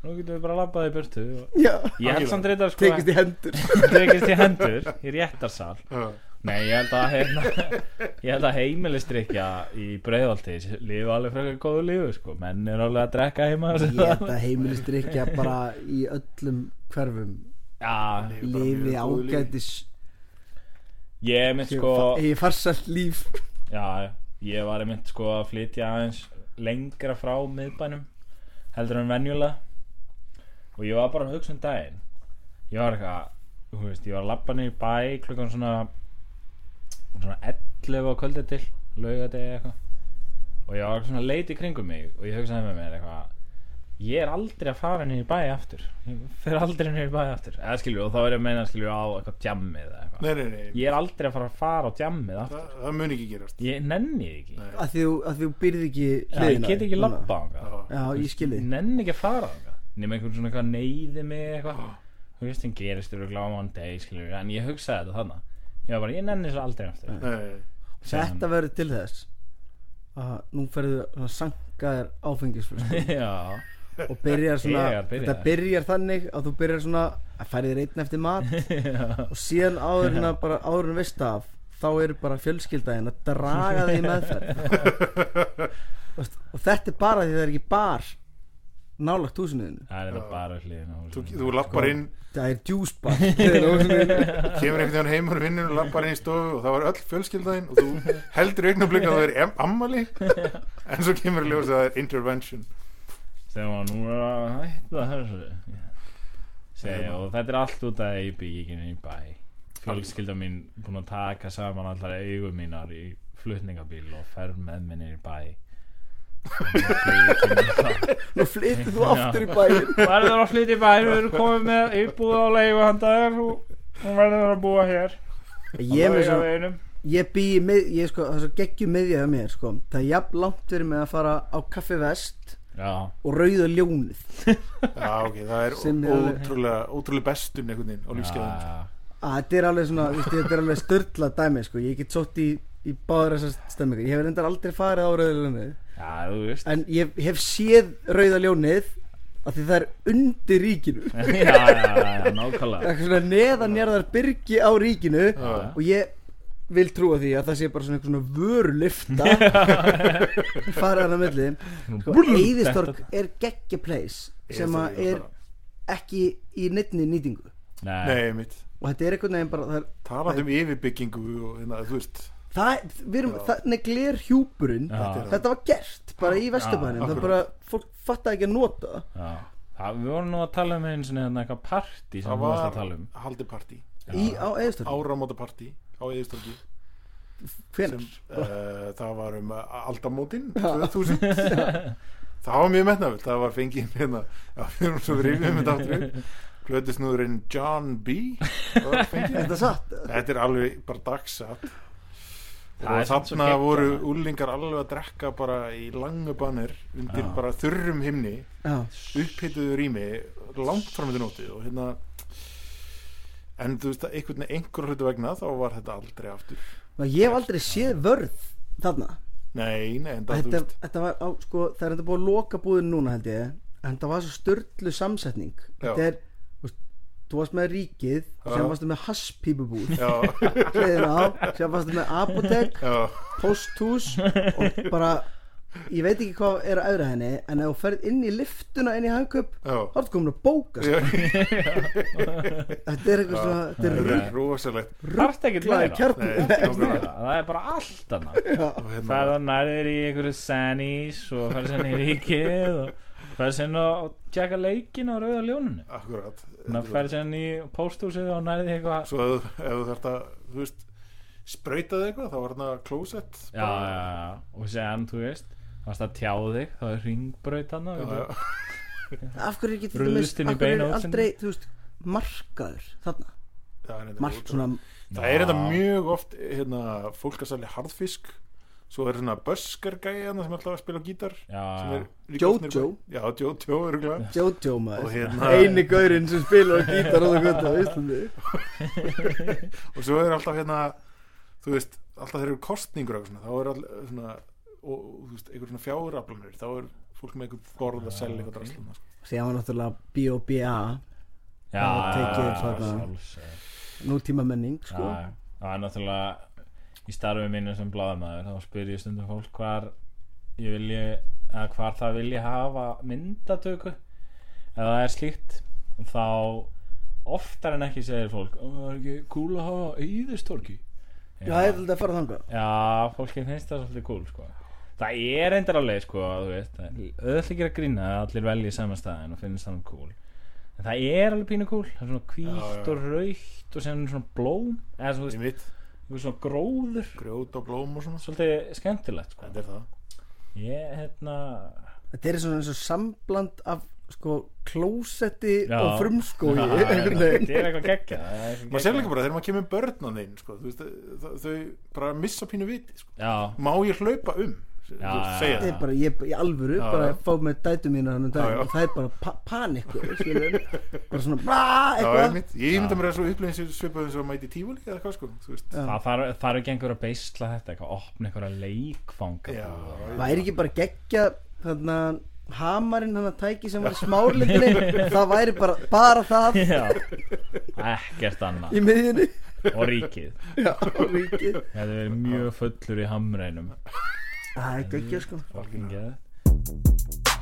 Speaker 1: Nú getum við bara labbaði í burtu og...
Speaker 4: Já,
Speaker 1: Ég held
Speaker 3: Algjörlega.
Speaker 1: samt reyndar sko
Speaker 4: tekist í hendur
Speaker 1: Tekist í hendur Í réttarsal
Speaker 3: já,
Speaker 1: Nei, ég held að, hérna, ég held að heimilistrykja í breiðvalti Lifu alveg frekar góðu lífu sko Menn er alveg að drekka heima og
Speaker 4: Ég
Speaker 1: svona.
Speaker 4: held að heimilistrykja bara í öllum hverfum
Speaker 1: Já,
Speaker 3: Lifi bara
Speaker 4: lifi
Speaker 3: mjög góðu lífi.
Speaker 4: ágætis
Speaker 1: ég er mynd sko
Speaker 4: eigi farsalt líf
Speaker 1: Já, ég var mynd sko að flytja aðeins lengra frá miðbænum heldur en venjulega og ég var bara að hugsa um daginn ég var eitthvað, þú veist, ég var að labba niður í bæ klukkan svona svona 11 á kvöldið til laugadegi eitthvað og ég var svona að leita í kringum mig og ég hugsaði með mér eitthvað ég er aldrei að fara niður í bæ aftur ég fer aldrei niður í bæ aftur eða skilju, og þá er ég að meina skilju á eitthvað djammið eða eitthvað
Speaker 3: Nei, nei, nei
Speaker 1: ég er aldrei að fara að fara á djammið aftur
Speaker 3: Það það mun ekki gerast
Speaker 1: Ég nenni því ekki
Speaker 3: Nei.
Speaker 4: að því þú, að því þú byrði ekki
Speaker 1: Já,
Speaker 4: hliðina
Speaker 1: Ég get ekki
Speaker 4: núna.
Speaker 1: labba á
Speaker 3: Já,
Speaker 4: já, ég skilði
Speaker 1: Ég nenni ekki að fara á Nefnir einhvern svona eitthvað neyði mig eitthvað Þú veist, hann gerist þér og gláma hann deg skilur, En ég hugsaði þetta þannig Ég var bara, ég nenni þessu aldrei aftur
Speaker 3: Nei,
Speaker 4: þetta verður til þess að nú ferðu að sanga þér áfengisflösku
Speaker 1: Já,
Speaker 4: og byrjar
Speaker 1: Þegar
Speaker 4: svona
Speaker 1: byrjaði.
Speaker 4: þetta byrjar þannig að þú byrjar svona að færi þér einn eftir mat og síðan áður en að bara áður en veist af þá eru bara fjölskyldaðin að draga þig í meðferð Veist, og þetta er bara því það er ekki bar nálagt húsinuðinu
Speaker 1: það er þetta bara hliðin á
Speaker 3: þú,
Speaker 1: húsinu.
Speaker 3: þú lappar inn
Speaker 4: það er djús bar hliðin á húsinuðinu
Speaker 3: kemur einhvern veginn heim úr vinninu og lappar inn í stofu og það var öll fjölskyldaðin og þú heldur augnablik að það er em- ammali en svo kemur í ljós að það er intervention
Speaker 1: Þegar maður nú er að hætta þessu Segja,
Speaker 3: Þegar-
Speaker 1: og þetta er allt út að ég byggi ekki í bæ Fjölskylda mín búin að taka saman allar eigum mínar í flutningabíl og fer með minni í bæ
Speaker 4: nú flyttir þú aftur í bæinn
Speaker 1: verður að flytja í bæ við erum komið með íbúð á leiðu hann dagar hún verður að búa hér
Speaker 4: Ég er með
Speaker 1: Lauga
Speaker 4: svo
Speaker 1: veginum.
Speaker 4: Ég bý í mið, ég sko, það er svo geggjum miðja hjá mér sko Það er jafn langt verið með að fara á kaffi vest
Speaker 1: Já,
Speaker 4: og rauða ljónið
Speaker 3: Já, ok, það er
Speaker 4: Sem hefur-
Speaker 3: ótrúlega, ótrúlega bestun einhvern veginn á lífskeiðinu. sko.
Speaker 1: já,
Speaker 4: að Þetta er alveg svona, viðst, þetta er alveg störla dæmi sko Ég get sótt í, í báður þessar stemmingar Ég hef reyndar aldrei farið á rauða ljónið
Speaker 1: já, þú veist
Speaker 4: En ég hef séð rauða ljónið af því það er undir ríkinu
Speaker 1: Já, já, já, já,
Speaker 4: Það
Speaker 1: nákvæmlega
Speaker 4: er svona neðanjarðar byrgi á ríkinu
Speaker 3: Já.
Speaker 4: og ég vil trúa því að það sé bara svona einhver svona vörulifta fara hann á milli sko, Eðistorg er geggja place sem að er ekki í neittni nýtingu
Speaker 1: Nei,
Speaker 3: Nei, mitt.
Speaker 4: og þetta er einhvern veginn bara það, er,
Speaker 3: Talandi um yfirbyggingu og hérna, þú veist.
Speaker 4: það, við erum, þannig gler hjúpurinn
Speaker 1: Já.
Speaker 4: þetta var gert bara í Vesturbænum það
Speaker 3: akkurat.
Speaker 4: bara, fólk fattar ekki að nota það.
Speaker 1: já Það, við vorum nú að tala um einu sinni þarna eitthvað partí sem
Speaker 3: Það
Speaker 1: við varst að
Speaker 3: var
Speaker 1: tala um
Speaker 3: haldið partí,
Speaker 4: í, á Eðistorg,
Speaker 3: áramótapartí á Eðistorgi sem
Speaker 4: hvenar
Speaker 3: uh, það var um uh, aldamótin 2000 það var mjög metnafull, það var fengið hérna, já, við erum svo rifjum þetta aftur plötusnúðurinn John B var fenginn.
Speaker 4: þetta er satt
Speaker 3: þetta er alveg bara dagsatt
Speaker 1: Það er
Speaker 3: og
Speaker 1: samt svo
Speaker 3: þarna
Speaker 1: geggjað,
Speaker 3: voru
Speaker 1: maður.
Speaker 3: úlingar alveg að drekka bara í langu bannir undir
Speaker 1: Já.
Speaker 3: bara þurrum himni
Speaker 4: Já.
Speaker 3: upphittuðu rými langt fram til nótið og hérna en þú veist að einhvern einhver hlutu vegna þá var þetta aldrei aftur
Speaker 4: ég hef aldrei séð vörð þarna
Speaker 3: nei, nei, en það þú
Speaker 4: þetta,
Speaker 3: veist
Speaker 4: þetta var á, sko, það er þetta búið að loka búðin núna held ég en það var svo störtlu samsetning þetta er, þú veist, þú varst með ríkið sem
Speaker 3: Já.
Speaker 4: varstu með hasspípubúð
Speaker 3: já,
Speaker 4: hliðin á, sem varstu með apotek
Speaker 3: já,
Speaker 4: posthús og bara ég veit ekki hvað er að öðra henni en ef þú ferð inn í liftuna inn í hagköp
Speaker 3: já
Speaker 4: þá ertu komin að bóka sko.
Speaker 3: Já.
Speaker 4: þetta er eitthvað svona þetta er
Speaker 3: þetta
Speaker 4: rugg-
Speaker 3: er rosalegt
Speaker 1: Það er ekki
Speaker 4: Rugglaður
Speaker 1: læra
Speaker 4: kjarni.
Speaker 3: Nei, nákvæmlega.
Speaker 1: Það er bara allt annað
Speaker 3: og
Speaker 1: Það
Speaker 3: hérna,
Speaker 1: er nærður í einhverju sannís og færði sérna í ríkið og færði sérna og tjekka leikin á rauða ljóninu
Speaker 3: akkurat
Speaker 1: Þannig að færði sérna í pósthúsið og nærði eitthvað
Speaker 3: svo ef, ef þú þarft að, þú veist sprautaði eitthvað, þá var hérna klósett
Speaker 1: Já, já, já, já. og séðan, þú veist Það að tjá þig, það er ringbraut hann og
Speaker 3: já, já.
Speaker 4: af hverju er ekki þetta
Speaker 1: Brugðust
Speaker 4: mest
Speaker 1: inn í
Speaker 4: af hverju
Speaker 1: beina
Speaker 4: er
Speaker 1: útsendingu.
Speaker 4: aldrei þú veist, markaður þarna
Speaker 3: Það er reyndar
Speaker 4: mark
Speaker 3: ótrúlegt.
Speaker 4: svona
Speaker 3: það er þetta
Speaker 1: Já.
Speaker 3: mjög oft hérna, fólk að selja harðfisk svo er hérna svona böskargæðan sem er alltaf að spila á gítar sem
Speaker 1: Já,
Speaker 3: er líka
Speaker 4: Jojo.
Speaker 3: snyrpa- já, Jojo, örugglega.
Speaker 4: Jojo
Speaker 3: og,
Speaker 4: maður
Speaker 3: hérna,
Speaker 4: eini gaurinn sem spilar á gítar á það gott á Íslandi
Speaker 3: og svo er alltaf hérna þú veist, alltaf þeir eru kostningur og eitthvað svona, þá er alltaf svona og þú veist, einhver svona fjáraflanir þá er fólk með einhver borð að selja eitthvað drastlum sko.
Speaker 4: síðan var náttúrulega B.O.B.A
Speaker 1: já,
Speaker 4: Það
Speaker 1: já,
Speaker 4: tekið
Speaker 1: já,
Speaker 4: þarna.
Speaker 1: sjálfsögðu.
Speaker 4: nútíma menning sko
Speaker 1: Já, já. það er náttúrulega í starfi mínu sem bladamæður þá spyr ég stundum fólk hvar ég vilji eða hvar það vilji hafa myndatöku ef það er slíkt þá oftar en ekki segir fólk "Ó, það er ekki cool að hafa íðistorki
Speaker 4: já, það er þetta að fara þangað
Speaker 1: Já, fólki finnst það svolítið cool sko. Það er endur alveg sko, þú veist, það er öll ekki að grína að allir velji sama staðin og finnst það cool En það er alveg pínu cool, það er svona
Speaker 3: Já,
Speaker 1: hvítt
Speaker 3: já.
Speaker 1: og raukt og sem svona blóm eða svona,
Speaker 3: í
Speaker 1: þú veist,
Speaker 3: mitt,
Speaker 1: einhver svona gróður
Speaker 3: grjót og blóm og svona
Speaker 1: Svolítið skemmtilegt sko
Speaker 3: þetta er það
Speaker 1: Ég, hérna,
Speaker 4: þetta er svona eins og sambland af sko klósetti
Speaker 1: Já.
Speaker 4: og frumskói
Speaker 1: Já,
Speaker 4: einhvern
Speaker 1: þetta
Speaker 4: veginn
Speaker 1: er eitthvað geggja
Speaker 3: maður sér líka bara þegar maður kemur börnan þinn sko, þú veist, það, þau bara missa pínu viti sko.
Speaker 1: Já,
Speaker 3: má ég hlaupa um Þú
Speaker 1: Já,
Speaker 3: veist,
Speaker 1: já,
Speaker 3: segja það
Speaker 4: Þetta er bara, ég, í alvöru,
Speaker 3: Já,
Speaker 4: bara
Speaker 3: já.
Speaker 4: að fá með dætu mín hann um
Speaker 3: Já,
Speaker 4: daginn
Speaker 3: já.
Speaker 4: og það er bara pa panikku, skilur bara svona, bra,
Speaker 3: Já,
Speaker 4: eitthvað
Speaker 3: einmitt. ég mynda mér að svo upplýðin sem svipaði sem að mæti tífúli eða hvað sko þú veist.
Speaker 4: Já.
Speaker 1: það þarf- þarf ekki einhver að beisla þetta eitthvað, opna einhverja leikfanga
Speaker 3: Já,
Speaker 4: væri ekki bara geggja þarna hamarinn hann að tæki sem var í smárlindinni það væri bara, bara það
Speaker 1: Já, ekkert annað
Speaker 4: í miðjunni
Speaker 1: og ríkið
Speaker 4: Já, ríkið
Speaker 1: Ég hefði verið mjög fullur í hamreinum
Speaker 4: Það er geggja sko
Speaker 1: Fucking get it.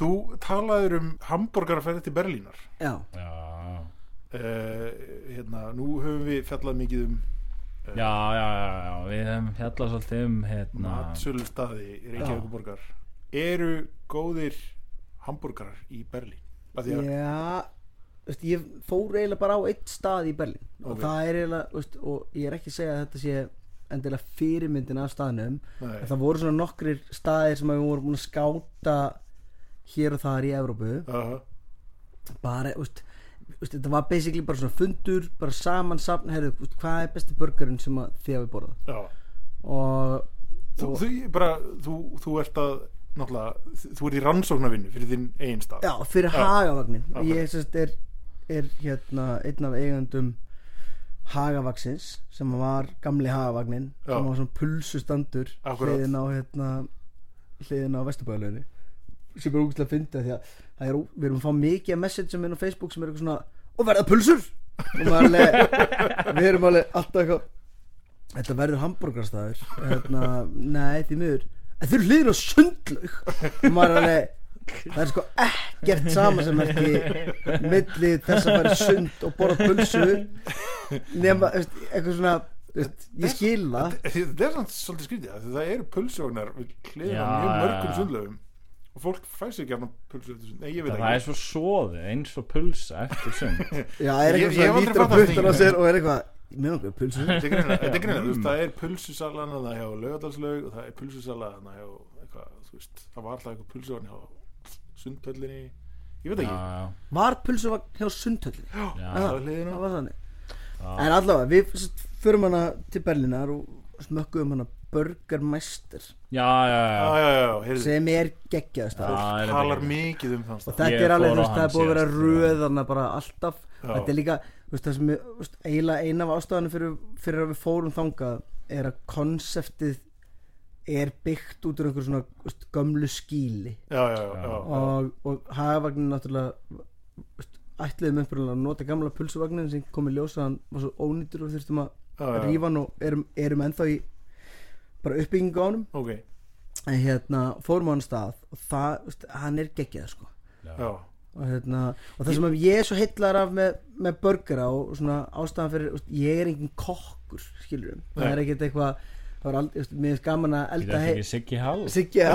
Speaker 3: þú talaður um hambúrgaraferði til Berlínar
Speaker 4: Já,
Speaker 3: Eh.
Speaker 1: Já,
Speaker 3: uh, hérna, nú höfum við fjallað mikið um
Speaker 1: já, já, já, já, við hefum fjallað svolítið um hérna
Speaker 3: matsölu staði Reykjavíkuborgar eru góðir hambúrgarar í Berlín að því að
Speaker 4: já veist, Ég fór eiginlega bara á eitt stað í Berlín Og
Speaker 3: Ok.
Speaker 4: það er eiginlega veist, Og ég er ekki að segja að þetta sé Endilega fyrirmyndin af staðnum
Speaker 3: Nei.
Speaker 4: En Það voru svona nokkrir staðir sem við vorum búin að skáta Hér og þar í Evrópu
Speaker 3: Aha,
Speaker 4: Bara, veist veist, þetta var basically bara svona fundur bara saman safn, herðu, veist, hvað er besti burgerinn sem að þið hafi borðað
Speaker 3: já.
Speaker 4: og,
Speaker 3: Þú,
Speaker 4: og
Speaker 3: þú, bara, þú, þú ert að náttúrulega, þú ert í rannsóknarvinnu fyrir þinn eigin stað
Speaker 4: já, fyrir hagavagnin
Speaker 3: Já,
Speaker 4: ég sérst er, er hérna einn af eigandum hagavagsins sem var gamli hagavagnin
Speaker 3: Já.
Speaker 4: sem var svona pulsustandur
Speaker 3: Akkurat.
Speaker 4: hliðin á hérna hliðin á vesturbæðalöginni sem er úkstlega fyndið því að það er, ó- við erum að fá mikið af messageum inn á Facebook sem er eitthvað svona og verða pulsur og maður alveg, við erum alveg alltaf eitthvað þetta verður hambúrgarstaður hérna, nei því miður en þau eru hliðin á sundlaug og maður er alveg það er sko ekkert sama sem ekki milli þess að fara í sund og borða pulsu nema veist, eitthvað svona veist, ég skil það
Speaker 3: þetta er samt svolítið skrítið af því það eru pulsóknar við hliðina
Speaker 1: Já,
Speaker 3: mjög mörgum
Speaker 1: já.
Speaker 3: sundlöfum og fólk fær sér gjarnan pulsu eftir sund nei, ég veit
Speaker 1: það er
Speaker 3: ekki
Speaker 1: svo soðið eins og pulsa eftir sund
Speaker 4: Já, er
Speaker 3: Ég- ég
Speaker 4: eitthvað
Speaker 3: hef
Speaker 4: svona
Speaker 3: aldrei fattað þetta
Speaker 4: lítur á puttana
Speaker 3: í-
Speaker 4: sér og er eitthvað Mér langar í pulsu
Speaker 3: Þetta er greinilega- þetta er greinilega,
Speaker 1: mm.
Speaker 3: þú veist, það er pulsusalan og það er hjá lögadalslaug og það er pulsusalan hjá eitthvað, þú veist, það var alltaf eitthvað pulsókn hjá sundhöllinni ég
Speaker 1: já,
Speaker 3: veit ekki,
Speaker 1: já,
Speaker 4: Var pulsu hjá sundhöllinni?
Speaker 1: já,
Speaker 3: það var hliðina
Speaker 4: Það var þannig En allavega, við s- förum hana til Berlínar og smökkum hana Burgermeister
Speaker 1: já, já, já.
Speaker 3: já, já, já, heyrðu,
Speaker 4: sem er geggjaðast
Speaker 1: Já,
Speaker 4: af
Speaker 1: er þetta
Speaker 3: talar
Speaker 1: ekki-
Speaker 3: mikið um þann stað
Speaker 4: Þetta
Speaker 1: Ég
Speaker 4: er alveg,
Speaker 1: fór
Speaker 4: þú
Speaker 1: á
Speaker 4: veist, það
Speaker 1: hann
Speaker 4: er búið að vera
Speaker 1: síðast,
Speaker 4: röðana bara alltaf
Speaker 3: Já.
Speaker 4: Þetta er líka, þú veist, það sem ég, þú veist, eiginlega eina af ástafanum fyrir, fyrir að við fórum þangað er að konseptið er byggt út úr einhver svona þú veist, gömlu skíli
Speaker 3: já, já, já, já, já,
Speaker 4: og, og hagavagnin náttúrulega veist, ætluðum upprunalega að nota gamla pulsuvagnin sem kom í ljós að hann var svo ónýtur og þurftum að
Speaker 3: já, já.
Speaker 4: rífa hann og erum, erum ennþá í bara uppbyggingu á hann
Speaker 3: ok,
Speaker 4: en hérna fórum á hann stað og það, veist, hann er geggjað sko
Speaker 3: já
Speaker 4: og, hérna, og það sem að ég er svo heillar af með, með burgera og svona ástæðan fyrir veist, ég er engin kokkur skilurum, það
Speaker 3: Nei.
Speaker 4: er ekkert eitthvað það var aldrei, veist, mér er gaman að
Speaker 1: Þetta
Speaker 4: elda
Speaker 1: er
Speaker 4: hei-
Speaker 1: ekki Siggi Hall
Speaker 4: Siggi á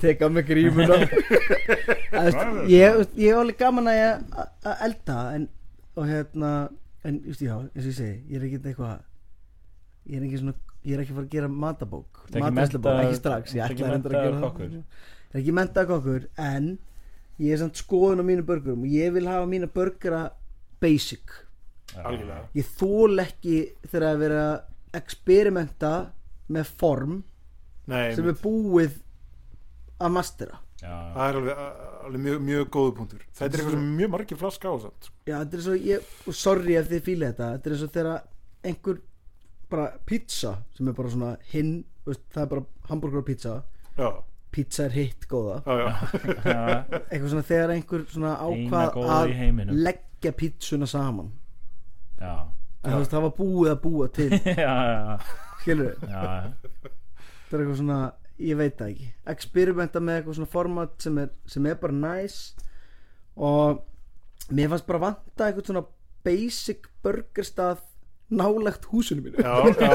Speaker 4: teka með grímuna En, veist, ég, veist, ég er alveg gaman að ég- að- að elda en, og hérna en veist, já, eins og ég segi, ég er ekki eitthvað ég er ekki svona ég er ekki að fara að gera matabók
Speaker 1: Þetta er ekki
Speaker 4: matreiðslubók,
Speaker 1: menntaður-
Speaker 4: ekki strax, ég
Speaker 1: þetta er ekki
Speaker 4: ætla reyndar að gera
Speaker 1: menntaður
Speaker 4: það
Speaker 1: kokkur.
Speaker 4: ég er ekki mentað kokkur en ég er samt skoðun á mínu börgurum og ég vil hafa mína börgura basic
Speaker 3: algjörlega,
Speaker 4: ég þól ekki þegar að vera að experimenta með form
Speaker 3: nei,
Speaker 4: sem er búið að mastera
Speaker 1: Já,
Speaker 3: það er alveg, alveg mjög, mjög góðu punktur þetta er eitthvað sem mjög margir flaska á samt sko.
Speaker 4: já, þetta er svo, ég, og sorry ef þið fílið þetta þetta er svo þegar að einhver bara pizza sem er bara svona hinn, þú veist, það er bara hambúrgur og pizza,
Speaker 3: já,
Speaker 4: pizza er hitt góða,
Speaker 3: já, já,
Speaker 1: já,
Speaker 4: eitthvað svona þegar einhver svona
Speaker 1: Eina
Speaker 4: ákvað
Speaker 1: góða
Speaker 4: að
Speaker 1: í heiminum.
Speaker 4: leggja pizzuna saman
Speaker 1: já,
Speaker 4: en þú veist, það var búið að búa til
Speaker 1: já, já,
Speaker 4: skilur
Speaker 1: já, já.
Speaker 4: þetta er eitthvað svona, ég veit það ekki experimenta með eitthvað svona format sem er, sem er bara nice og mér fannst bara vanta eitthvað svona basic burgerstað nálagt húsinu mínu
Speaker 3: já, já,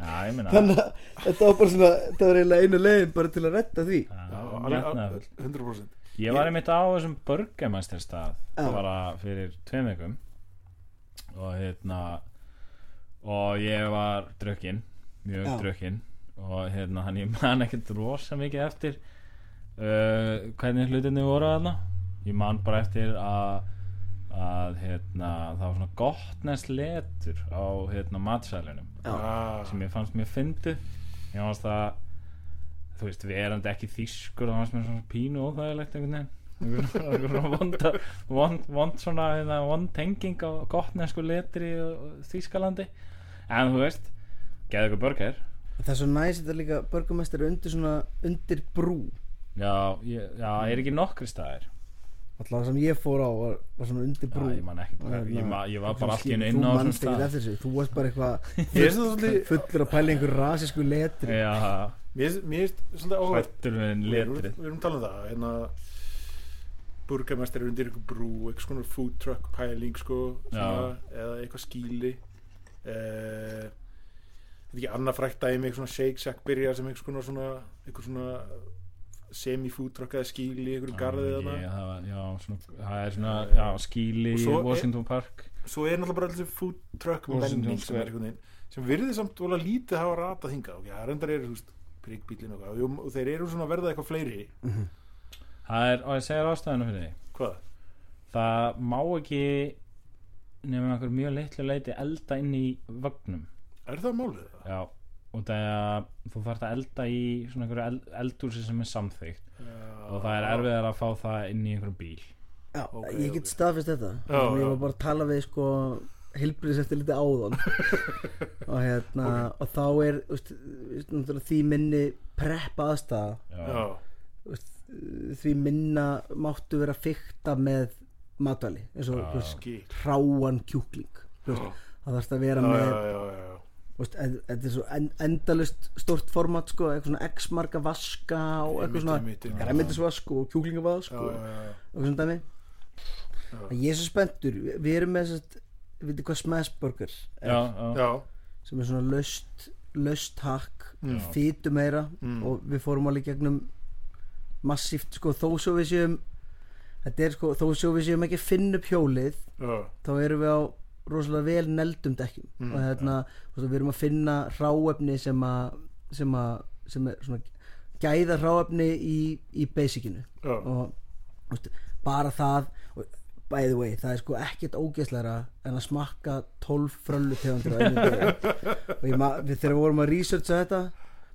Speaker 1: Já, ég meina
Speaker 4: þannig að þetta var bara svona þetta var eiginlega einu leiðin bara til að retta því
Speaker 1: Já,
Speaker 3: já,
Speaker 1: mjög
Speaker 3: alveg-
Speaker 1: metnaðarfull.
Speaker 3: alveg 100%
Speaker 1: Ég var einmitt á þessum burgermæstir stað
Speaker 4: Já.
Speaker 1: bara fyrir tveim vikum og hérna og ég var drukkin mjög
Speaker 4: Já.
Speaker 1: drukkin og hérna hann ég man ekkert rosa mikið eftir uh, hvernig hlutinni voru þarna ég man bara eftir að að hérna það var svona gottnes letur á hérna matsælunum
Speaker 3: já,
Speaker 1: sem ég fannst mér fyndi ég fannst það þú veist, verandi ekki þýskur það fannst mér svona pínu óþægilegt einhvern veginn Einhver- einhver svona vonda vond, vond svona, hérna, vond tenging á gottnesku letri og og Þýskalandi en þú veist, geðu ykkur burger
Speaker 4: það er svo næs þetta líka burgermestari undir svona undir brú
Speaker 1: já, ég, já, er ekki nokkri staðir
Speaker 4: alltaf sem ég fór á var, var svona undir brú
Speaker 1: já, ég man ekki, bara,
Speaker 3: Hérna,
Speaker 1: ég, ma, ég var bara allt í einu inn á
Speaker 4: þú
Speaker 1: þessum
Speaker 4: manst ekki
Speaker 1: stað
Speaker 4: eftir þessu þú varst bara eitthvað
Speaker 3: ég er svolítið
Speaker 4: fullur að pæla í einhver rasísku letri
Speaker 1: já,
Speaker 3: mér finnst- mér finnst svolítið áhverð
Speaker 1: hrættur við
Speaker 3: við erum,
Speaker 1: letri
Speaker 3: við erum talað um það hérna burgamæstir undir einhver brú eitthvað svona food truck pæling sko, svona, eða eitthvað skíli eh, þetta ekki annað frækt dæmi eitthvað svona shake shack byrja sem eitthvað svona, svona, eitthvað svona semi food truck eða skíli eitthvað garðið
Speaker 1: já,
Speaker 3: þarna
Speaker 1: ég- það var- já, svona, það er svona já, skíli
Speaker 3: Og
Speaker 1: í
Speaker 3: svo er-
Speaker 1: Washington Park
Speaker 3: svo er náttúrulega bara þessi food truck
Speaker 1: Washington
Speaker 3: menning sem
Speaker 1: Square.
Speaker 3: er einhvern veginn sem virðið samt ólega lítið hafa ratað hingað ok, það reyndar eru, þú veist, prikkbílin og, eitthvað, og þeir eru svona að verða eitthvað fleiri
Speaker 1: Það er, og ég segir ástæðinu fyrir því
Speaker 3: hvað?
Speaker 1: það má ekki nefnum einhver mjög litlu leiti elda inn í vagnum
Speaker 3: Er það málið það?
Speaker 1: já, og það er að þú þarf að elda í svona einhverju eld, eldúrsi sem er samþygt og það er erfiðar að fá það inn í einhverjum bíl
Speaker 4: Já,
Speaker 3: Ok,
Speaker 4: ég get
Speaker 3: ok.
Speaker 4: staðfist þetta
Speaker 3: Já,
Speaker 4: já, Ég
Speaker 3: já.
Speaker 4: var bara að tala við sko Hilbriðs eftir liti áðan Og hérna Og þá er úst, úst, náttúrulega því minni preppa aðstæða
Speaker 1: já,
Speaker 3: Já,
Speaker 4: úst, eh, Því minna máttu vera fykta með matvali eins og
Speaker 1: Já.
Speaker 4: þú veist,
Speaker 3: gík
Speaker 4: hráan kjúkling þú veist,
Speaker 3: Já.
Speaker 4: Það þarfst að vera
Speaker 3: Já,
Speaker 4: með
Speaker 3: já, já, já, já.
Speaker 4: þú veist, en- Þetta er svo en, endalust stórt format sko, eitthvað svona x marga vaska og
Speaker 3: Einmitt,
Speaker 4: eitthvað svona
Speaker 3: einmitt, einmitt.
Speaker 4: græmitisvask og
Speaker 3: Já,
Speaker 4: kjúklingavask og
Speaker 3: já, já, já.
Speaker 4: og svona dæmi að ég er svo spenntur Vi- við erum með þess að við veitum hvað Smash Burger er,
Speaker 1: já, já.
Speaker 3: Já,
Speaker 4: sem er svona löst löst hakk,
Speaker 3: Mm.
Speaker 4: fýtu meira
Speaker 3: Mm.
Speaker 4: og við fórum alveg gegnum massíft sko þó svo við séum þetta er sko þó svo við séum ekki að finna upp hjólið
Speaker 3: já,
Speaker 4: þá erum við á rosalega vel neldum dekkjum
Speaker 3: Mm,
Speaker 4: og þarna, ja. við erum að finna ráefni sem að sem, að, sem er svona gæða ráefni í, í basicinu
Speaker 3: já.
Speaker 4: og veist, bara það og, by the way, það er sko ekkert ógeðslega en að smakka 12 fröllu tegundur og ég, ma, við þegar við vorum að researcha þetta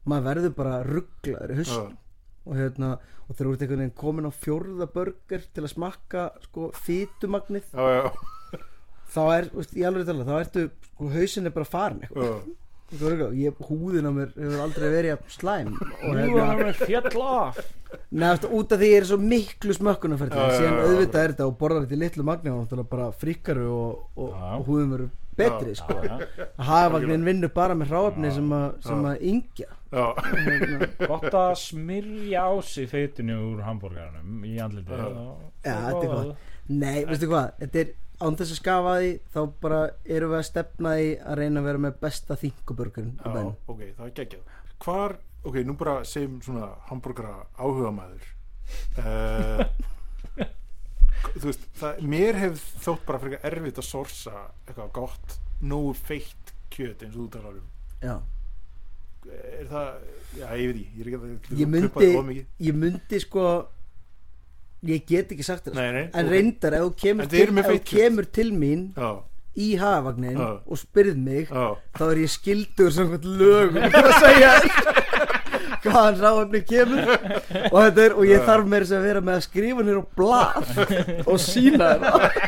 Speaker 4: maður verður bara rugglaður hus,
Speaker 3: Já.
Speaker 4: og hérna og þegar þú ert einhvern veginn komin á fjórða börgur til að smakka sko fýtumagnið
Speaker 3: Já, já,
Speaker 4: þá er, veist, ég alveg tala þá ertu, sko, hausin er bara farin eitthvað
Speaker 3: já.
Speaker 4: Þú veist, ég, húðin á mér hefur aldrei verið jafn slæm og
Speaker 1: Nú
Speaker 4: hérna
Speaker 1: erum við fjall af
Speaker 4: Nefnt, út af því ég er svo miklu smökkunarferði
Speaker 3: Já, já,
Speaker 4: síðan
Speaker 3: já, já.
Speaker 4: auðvitað er þetta og borðar þetta í litlu magni og náttúrulega bara fríkaru og, og,
Speaker 1: Já.
Speaker 4: og húðum eru betri
Speaker 1: Já,
Speaker 4: sko.
Speaker 1: já.
Speaker 4: að hafagnin vinnur bara með hráfni sem, að, sem að yngja
Speaker 3: já.
Speaker 1: gott að smyrja á sig feitinu úr hambúrgaranum í andliti
Speaker 3: Já.
Speaker 4: Já, þetta er gott. nei, veistu hvað, þetta er án þess að skafa því þá bara erum við að stefna í að reyna að vera með besta þinguburgurinn í
Speaker 3: Já,
Speaker 4: bænum.
Speaker 3: ok, það er geggjað Hvar, ok, nú bara segjum svona hambúrgara áhuga maður uh, Þú veist, það, mér hef þótt bara frekar erfitt að sorsa eitthvað gott, nógu feitt kjöt eins og þú talar um
Speaker 4: Já.
Speaker 3: Er það, já, ég veit ekki, ég er ekki að
Speaker 4: ég
Speaker 3: klubba það of
Speaker 4: myndi,
Speaker 3: mikið.
Speaker 4: ég myndi sko ég get ekki sagt þetta
Speaker 3: Nei, nei,
Speaker 4: en
Speaker 3: ok.
Speaker 4: reyndar ef þú kemur,
Speaker 3: En þið
Speaker 4: til,
Speaker 3: eruð með
Speaker 4: ef þú
Speaker 3: feitkjöt.
Speaker 4: kemur til mín
Speaker 3: Já,
Speaker 4: í hafagnin
Speaker 3: Já.
Speaker 4: og spyrð mig
Speaker 3: já,
Speaker 4: þá er ég skildur samkvæmt lögum til að segja þér hvaðan ráefni kemur og, þetta er, og ég þarf meira sem að vera með að skrifa hér á blað og sína þér það.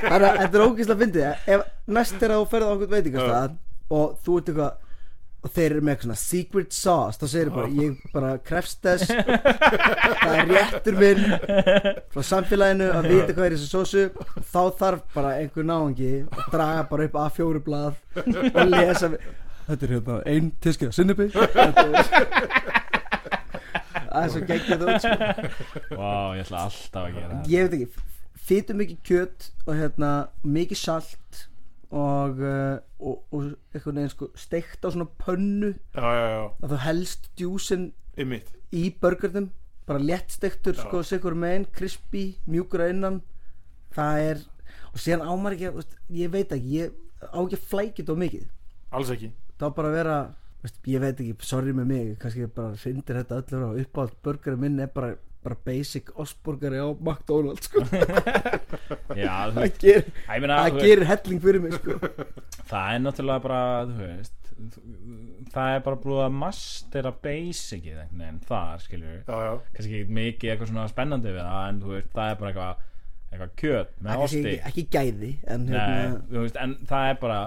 Speaker 4: þannig að þetta er ógeðslega fyndið ef næst er að þú ferð á einhvern veitingastað og þú ert eitthvað og þeir eru með eitthvað svona secret sauce þá segir bara, ég bara krefst þess það er réttur minn frá samfélaginu að vita hvað er í þessu sósu þá þarf bara einhver náungi að draga bara upp A4 blað og lesa þetta er hérna ein tískið að sinnubi það er svo geggjað út sko.
Speaker 1: Vá, ég ætla alltaf að gera
Speaker 4: ég veit ekki, fýtu mikið kjöt og hérna mikið salt og, uh, og, og einhvern veginn sko steikt á svona pönnu
Speaker 3: já, já, já,
Speaker 4: að þú helst djúsin
Speaker 3: ymmit
Speaker 4: í burgernum bara léttsteiktur
Speaker 3: Já.
Speaker 4: sko sigur megin, crispy, mjúkur að innan það er og síðan ámar ekki, að- veist, ég veit ekki ég á ekki að flækja þetta of mikið
Speaker 3: Alls ekki
Speaker 4: það á bara að vera veist, ég veit ekki, sorry með mig kannski ég bara hrindir þetta öllur og uppátt burgeri minn er bara, bara basic osburgeri á McDonalds sko.
Speaker 1: það Já, þú
Speaker 4: það
Speaker 1: veist,
Speaker 4: gerir,
Speaker 1: ég meina,
Speaker 4: það
Speaker 1: þú veist,
Speaker 4: gerir helling fyrir mig sko.
Speaker 1: það er náttúrulega bara, þú veist þú- það er bara búið að mastera basicið einhvern veginn þar, skilur
Speaker 3: Já, já,
Speaker 1: kannski ekki mikið eitthvað svona spennandi við það en þú veist, það er bara eitthvað eitthvað kjöt
Speaker 4: Það
Speaker 1: með
Speaker 4: er kannski
Speaker 1: osti
Speaker 4: ekki, ekki gæði en
Speaker 1: Nei,
Speaker 4: hérna,
Speaker 1: þú veist, en það er bara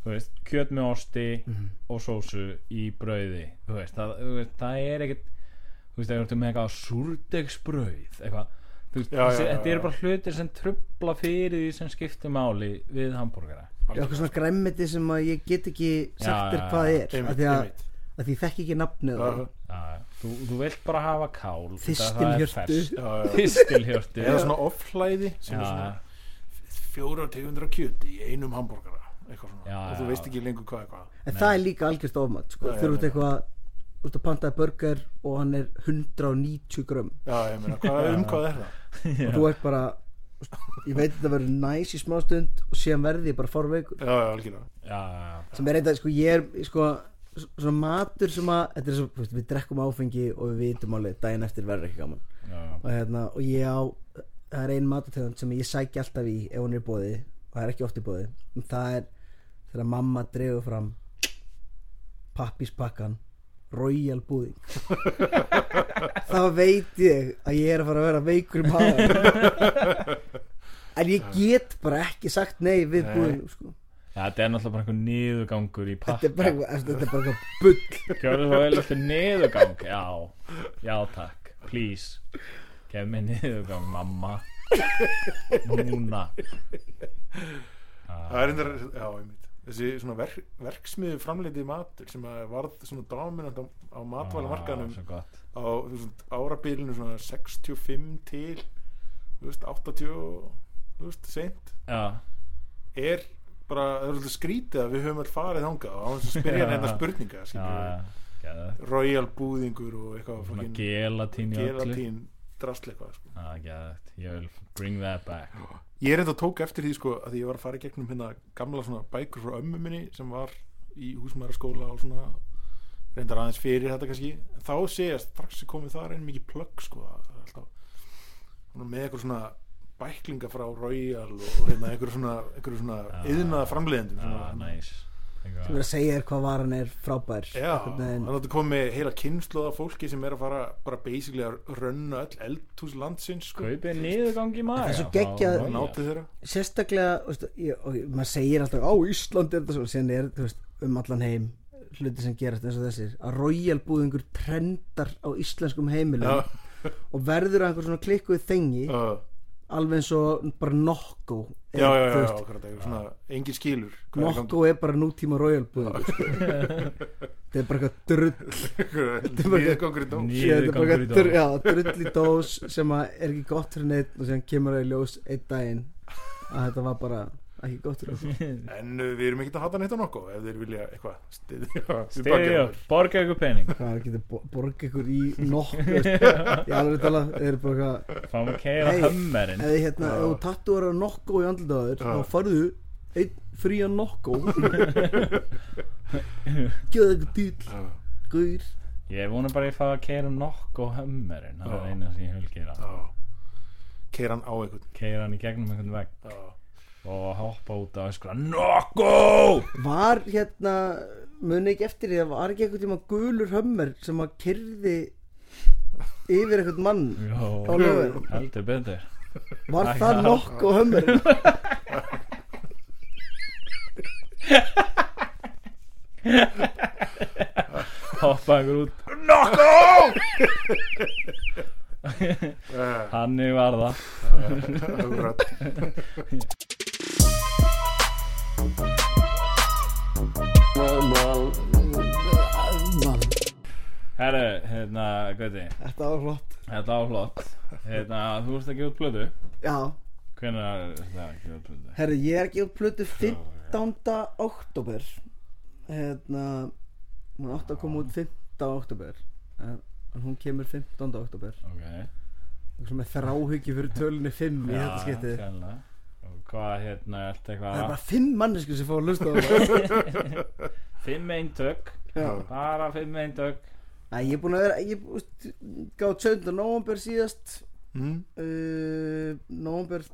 Speaker 1: þú veist, kjöt með osti
Speaker 3: Mhm.
Speaker 1: og sósu í brauði þú veist, það, þú veist, það er ekkert þú veist, það er ekkert með eitthvað súrdegsbrauð eitthvað þú veist,
Speaker 3: Já, já,
Speaker 1: þessi-
Speaker 3: já,
Speaker 1: þetta
Speaker 3: já.
Speaker 1: eru bara hlutir sem trubla fyrir því sem skiptir máli við hambúrgara
Speaker 4: eitthvað svona græmmiti sem að ég get ekki sagt
Speaker 1: Já,
Speaker 4: þér
Speaker 1: já,
Speaker 4: hvað
Speaker 1: já.
Speaker 4: er af
Speaker 3: ymmit,
Speaker 4: því að,
Speaker 3: ymmit
Speaker 4: að því ég þekki ekki nafnið á
Speaker 3: Já,
Speaker 4: því.
Speaker 1: Já, þú, þú vilt bara hafa kál
Speaker 4: Þistilhjörtu.
Speaker 3: já, já
Speaker 1: Þistilhjörtu
Speaker 3: Eða svona offlæði sem
Speaker 1: Já,
Speaker 3: er svona fjóra tegundra kjöti í einum hambúrgara eitthvað svona
Speaker 1: Já,
Speaker 3: og þú
Speaker 1: já,
Speaker 3: veist
Speaker 1: já.
Speaker 3: ekki lengur hvað er hvað
Speaker 4: en það er líka algjörst ofmat sko.
Speaker 3: Já, já,
Speaker 4: þú ert
Speaker 3: já.
Speaker 4: eitthvað þú ert að pantaði burger og hann er 190 grömm
Speaker 3: já ég meina hvað, um hvað er það
Speaker 4: og þú ert bara ég veit að það verður næs í smástund og síðan verði ég bara fórveikur
Speaker 3: já já algjörlega
Speaker 1: já, já,
Speaker 4: sem er eitthvað, sko, ég er sko, s- svona matur sem að þetta er svo, veist, við drekkum áfengi og við vitum alveg daginn eftir verður ekki gaman
Speaker 1: já, já.
Speaker 4: og, hérna, og ég á það er ein matategund sem ég sæki alltaf í ef hún er í bóði og það er ekki oft í bóði en það er þegar mamma dregur fram pappispakkan royal búðing þá veit ég að ég er að fara að vera veikur í maður en ég get bara ekki sagt nei við
Speaker 3: Nei.
Speaker 4: búðing sko.
Speaker 1: Ja, þetta er náttúrulega bara einhver niðurgangur í
Speaker 4: þetta
Speaker 1: pakka
Speaker 4: er bara eitthvað- þetta er bara eitthvað bull
Speaker 1: Gjörðu svo vel eftir niðurgang Já, já takk, please Gef mér niðurgang, mamma Núna
Speaker 3: Það er endur, já, einmitt Þessi svona verk, verksmiðu framleitið matur sem að varð svona dominant á, á matvælamarkaðanum
Speaker 1: Svo gott
Speaker 3: á þú veist, árabilinu svona 65 til þú veist, 80 og, þú veist, seint
Speaker 1: Já,
Speaker 3: er bara, það er alltaf skrítið að við höfum all farið þangað og hann spyrja
Speaker 1: Já.
Speaker 3: hérna spurninga
Speaker 1: já,
Speaker 3: skilurðu.
Speaker 1: já geðveikt.
Speaker 3: royal búðingur og eitthvað
Speaker 1: Svona
Speaker 3: fucking
Speaker 1: gelatín í öllu
Speaker 3: gelatín drasl eitthvað sko.
Speaker 1: Já, gæðið, ég vil bring that back
Speaker 3: ég er enda tók eftir því sko að ég var að fara í gegnum hérna gamla svona bækur frá ömmu minni sem var í húsmaðuraskóla og svona reyndar aðeins fyrir þetta kannski en þá sé ég að strax er komið þar einn mikið plögg sko að það er alltaf hún er með eitthvað svona bæklinga frá Royal og, og hérna eitthvað svona eitthvað svona
Speaker 1: Ah.
Speaker 3: yðnaða framleiðendum
Speaker 1: Já,
Speaker 3: svona-
Speaker 1: Ah, nice Eitthvað-
Speaker 4: sem er að segja þér hvað varan er frábær
Speaker 3: Já,
Speaker 4: Einhvern veginn.
Speaker 3: þannig að þetta komið heila kynnslóða fólki sem er að fara bara basically að rönna öll eldhús landsins sko,
Speaker 1: Kaupið niðurgang í maga
Speaker 4: Það er svo geggjað-
Speaker 1: frá Royal.
Speaker 3: náti þeirra
Speaker 4: sérstaklega þú veist, ég- og ég- maður segir alltaf á Íslandi er þetta svo, síðan er þú veist, um allan heim hluti sem gerast eins og þessir að royalbúðingur trendar á íslenskum heimilum
Speaker 3: Já.
Speaker 4: og verður að einhver svona klikkuð þengi
Speaker 3: uh,
Speaker 4: alveg eins og bara nokko
Speaker 3: Já, já, já, já, akkurat, eitthvað svona engin skilur hvað er
Speaker 4: nokko er bara nútíma royalbúðingur sko. þetta er bara eitthvað drull
Speaker 3: gangi- Niðurgangur í dóm
Speaker 1: Ný-
Speaker 4: þetta er bara
Speaker 1: Niðurgangur í
Speaker 4: eitthvað drull, já, drull í dós sem að er ekki gott fyrir neitt og sem kemur að í ljós einn daginn að þetta var bara ekki gott fyrir okkur
Speaker 3: En uh, við erum ekki að hata neitt á nokko ef þeir vilja eitthvað styðja
Speaker 1: Styðja,
Speaker 3: okkur.
Speaker 1: borga ykkur pening
Speaker 4: hvað það getur bo- borga ykkur í nokkuð þú veist. ég alveg tala þeir eru bara eitthvað
Speaker 1: Fáum að keira
Speaker 4: Hey.
Speaker 1: hömmerinn
Speaker 4: eða hérna ef þú tattuar að nokkuð í andlitaður
Speaker 3: Já.
Speaker 4: þá farðu einn frían nokkuð gjöðu eitthvað dýll
Speaker 3: Já,
Speaker 4: gaur
Speaker 1: Ég vona bara að ég fá að keira nokko hömmerinn Það
Speaker 3: Já.
Speaker 1: er eina sem ég vil gera
Speaker 3: já. Keira hann á einhvern
Speaker 1: Keira hann í gegnum einhvern vegg
Speaker 3: Já.
Speaker 1: og hoppa út af öskra NOKKO
Speaker 4: var hérna muni ekki eftir því að var ekki eitthvað tíma gulur hömmer sem að kyrði yfir eitthvað mann á
Speaker 1: Jó,
Speaker 4: lögur
Speaker 1: heldur betur
Speaker 4: var það nokkuð hömmer
Speaker 1: Hoppa einhver út
Speaker 3: Eh,
Speaker 1: Þannig var það
Speaker 3: akkurat.
Speaker 6: Well,
Speaker 5: Mann.
Speaker 1: Herru, hérna, Gauti,
Speaker 4: þetta var flott
Speaker 1: þetta var flott Hérna, þú ert ekki út blödu
Speaker 4: já
Speaker 1: Hvenær er það ekki út blödu?
Speaker 4: Herri, ég er ekki á plötu 15. oktober Hérna Hún átti að koma út 15. oktober En en hún kemur 15. oktober
Speaker 1: Ok
Speaker 4: Eitthvað með þráhyggju fyrir tölunni 5 í þetta skiptið Það
Speaker 1: skemmtilega Og hvað, hérna, ertu
Speaker 4: er
Speaker 1: eitthvað
Speaker 4: bara 5 mannesku sem fá að hlusta á það
Speaker 1: Fimm eintök
Speaker 4: Já.
Speaker 1: Bara fimm eintök
Speaker 4: Æ, Ég er búin að vera Ég úst, gáð 17. november síðast
Speaker 3: Mm,
Speaker 4: uh, November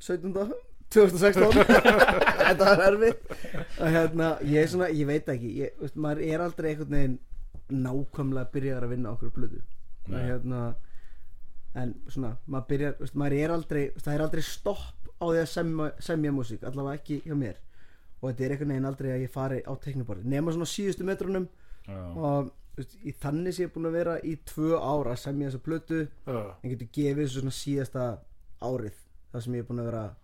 Speaker 4: 17. 2016 Þetta er erfitt og hérna, ég er svona, ég veit ekki ég, veist, maður er aldrei einhvern veginn nákvæmlega byrjaður að vinna okkur plötu og
Speaker 1: Nei.
Speaker 4: hérna en svona, maður byrjar, veist, maður er aldrei veist, það er aldrei stopp á því að semja, semja músík, allavega ekki hjá mér og þetta er einhvern veginn aldrei að ég fari á tekniborði nema svona síðustu metrunum
Speaker 1: Já.
Speaker 4: og veist, í þannig sé ég búin að vera í tvö ára að semja þessa plötu
Speaker 3: já.
Speaker 4: en getur gefið þessu svona síðasta árið það sem ég er búin að vera að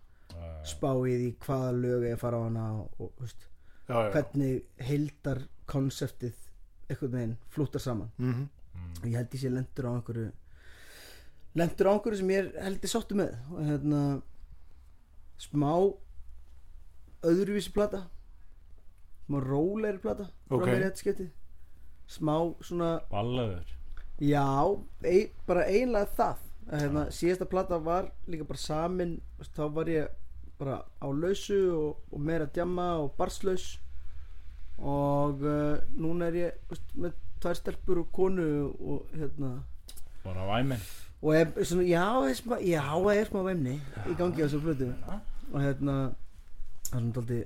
Speaker 4: spá í því hvaða lög ég að fara á hana og, og þú veist,
Speaker 3: Já, já.
Speaker 4: hvernig heildar konseptið einhvern veginn flúttar saman
Speaker 3: Mhm.
Speaker 4: og ég held ég sé lendur á einhverju lendur á einhverju sem ég er held ég sáttu með og hérna smá öðruvísi plata smá rólegri plata frá
Speaker 3: Ok.
Speaker 4: mér í þetta skipti smá svona
Speaker 1: Ballaður
Speaker 4: Já, ein, bara einlega það Að hérna, síðasta plata var líka bara samin þú veist, þá var ég bara á lausu og, og meira djamma og barslaus og uh, núna er ég þú veist, með tvær stelpur og konu og hérna
Speaker 1: Bara væminn
Speaker 4: og er svona, já, er smá, já, það er smá vemni í gangi á þessu plötu og hérna það er svona daldi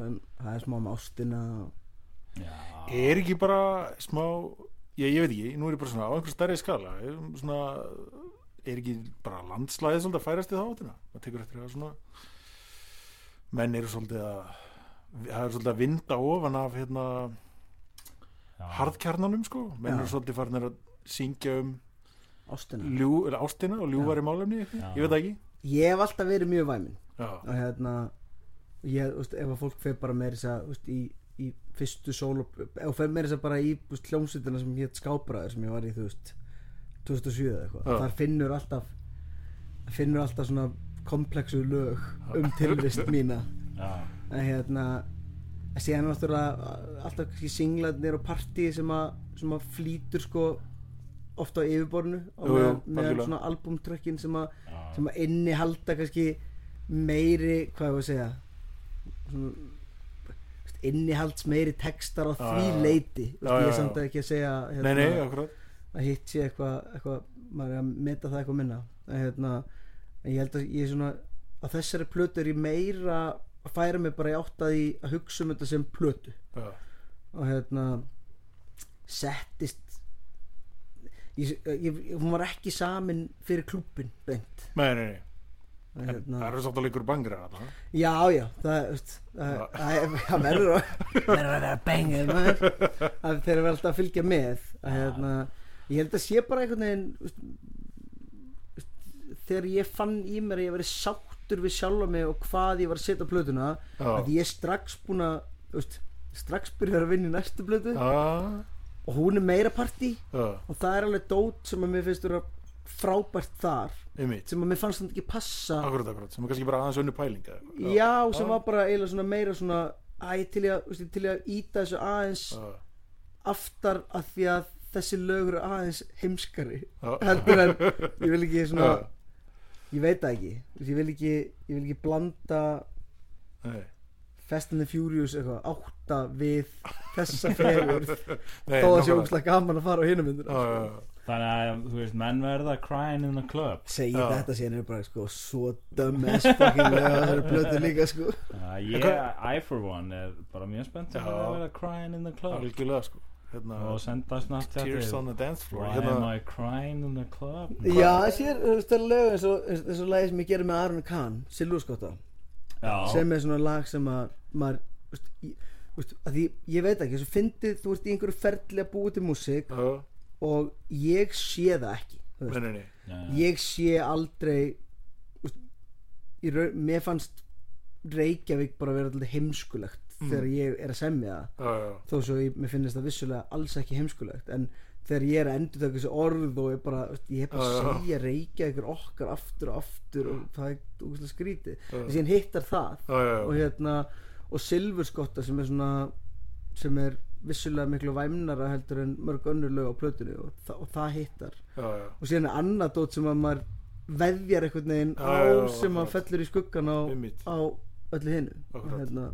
Speaker 4: það er smá um ástina og-
Speaker 3: er ekki bara smá ég, ég veit ekki, nú er ég bara svona á einhver stærri skala er, svona, er ekki bara landslæðið svolítið að færast í þá áttina maður tekur eftir að svona menn eru svolítið að það er svolítið að vinda ofan af hérna, harðkjarnanum sko menn
Speaker 4: Já.
Speaker 3: eru svolítið farin að syngja um
Speaker 4: ástina
Speaker 3: ljú, eða ástina og ljúvar í málefni
Speaker 1: Já.
Speaker 3: ég veit það ekki
Speaker 4: ég hef alltaf verið mjög væminn
Speaker 3: já,
Speaker 4: og hérna ég, þú veist, ef að fólk fer bara með þess að veist, í, í fyrstu solo og fer með þess að bara í þú veist, hljómsveitina sem hétt skápræður sem ég var í þú veist 2007 eða eitthvað
Speaker 3: Já.
Speaker 4: þar finnur alltaf finnur alltaf svona komplexu lög um tilvist mína en hérna en síðan er náttúrulega alltaf kannski singlarnir og partí sem að, sem að flýtur sko ofta á yfirborðinu og
Speaker 3: Jú, jú,
Speaker 4: meðan með
Speaker 3: algjörlega.
Speaker 4: svona albumtrökkin sem að sem að inni halda kannski meiri, hvað ég var að segja svona innihalds meiri textar á
Speaker 3: Já,
Speaker 4: því
Speaker 3: já, já.
Speaker 4: leiti
Speaker 3: Já, já,
Speaker 4: ég er
Speaker 3: já.
Speaker 4: samt ekki að segja hérna,
Speaker 3: nei, nei, akkurat
Speaker 4: að hitt sé eitthvað eitthva, maður er að meta það eitthvað minna en hérna, en ég held að ég svona á þessari plötu er ég meira að færa mig bara í átt að því að hugsa um þetta sem plötu
Speaker 3: já,
Speaker 4: og hérna settist ég, ég, hún var ekki samin fyrir klúbbin beint
Speaker 3: nei, nei, nei,
Speaker 4: En
Speaker 3: það
Speaker 4: hérna,
Speaker 3: eru svolítið að líkur bangra þarna.
Speaker 4: já, já það, þú veist, það,
Speaker 3: Já.
Speaker 4: það, það verður að verður að vera bengið maður. Það- þeir eru alltaf að fylgja með að, hérna, ég held að sé bara einhvern veginn þú veist, þú veist, þegar ég fann í mér að ég verið sáttur við sjálfa mig og hvað ég var að setja á plötuna að
Speaker 3: já,
Speaker 4: ég er strax búin að þú veist, strax byrjar að vinna í næstu plötu
Speaker 3: já,
Speaker 4: og hún er meira partí
Speaker 3: já,
Speaker 4: og það er alveg dót sem að mér finnst vera frábært þar
Speaker 3: einmitt
Speaker 4: sem að mér fannst þetta ekki passa
Speaker 3: Akkurat, akkurat, sem er kannski bara aðeins önnu pælinga
Speaker 4: já, sem var bara eiginlega svona meira svona æ, til ég að, til ég að íta þessu aðeins aftar af því að þessi lög eru aðeins heimskari heldur en ég vil ekki svona
Speaker 3: Já.
Speaker 4: ég veit það ekki, Þú veist, ég vil ekki ég vil ekki blanda
Speaker 3: Nei,
Speaker 4: Fast and the Furious eitthvað átta við þessa fegurð
Speaker 3: nei,
Speaker 4: þó að sé
Speaker 3: nákvæmlega.
Speaker 4: ógslag gaman að fara á
Speaker 3: Já,
Speaker 4: hinum myndir
Speaker 3: já, já.
Speaker 1: Þannig að, þú veist, menn verða crying in the club
Speaker 4: segi
Speaker 3: Já.
Speaker 4: þetta síðan er bara sko svo dumb as fucking lög það eru blötu líka sko
Speaker 1: uh, Ég, I for one, er bara mjög spennt
Speaker 3: Já.
Speaker 1: að verða crying in the club
Speaker 3: Algjörlega sko hérna,
Speaker 1: og senda snart
Speaker 3: Tears on the dance floor
Speaker 1: Why am
Speaker 3: hérna,
Speaker 1: I crying in the club?
Speaker 4: já, þessi er þetta er lög eins og þessu lagi sem ég gerir með Aron Kahn Silvurskotta
Speaker 1: Já,
Speaker 4: sem er svona lag sem að maður, veist, ég, veist, að því, ég veit ekki, þessu fyndið þú ert í einhverju ferli að búa til músík
Speaker 3: Já,
Speaker 4: og ég sé það ekki þú
Speaker 3: nei,
Speaker 4: veist.
Speaker 3: nei, nei
Speaker 1: já,
Speaker 4: ég sé aldrei veist, í raun, mér fannst Reykjavík bara vera alltaf heimskulegt
Speaker 3: Mm.
Speaker 4: þegar ég er að semja það
Speaker 3: Já, já,
Speaker 4: þó svo ég, mér finnst það vissulega alls ekki heimskulegt en þegar ég er að endur taka þessi orð og ég bara, veist, ég hef
Speaker 3: Já,
Speaker 4: bara
Speaker 3: já.
Speaker 4: að segja reykja ykkur okkar aftur og aftur og það er úkvæmlega skrítið
Speaker 3: Já.
Speaker 4: þess að hann hittar það
Speaker 3: Já, já, já.
Speaker 4: og hérna og silfurskotta sem er svona sem er vissulega miklu væmnara heldur en mörg önnur lög á plötunni og, þa og það hittar
Speaker 3: já, já.
Speaker 4: og síðan er annað dót sem að maður veðjar einhvern veginn
Speaker 3: Já,
Speaker 4: á
Speaker 3: já, já,
Speaker 4: sem að
Speaker 3: akkurat.
Speaker 4: fellur í skuggan á,
Speaker 3: Einmitt.
Speaker 4: á öllu hinu og
Speaker 3: Akkurat.
Speaker 4: hérna,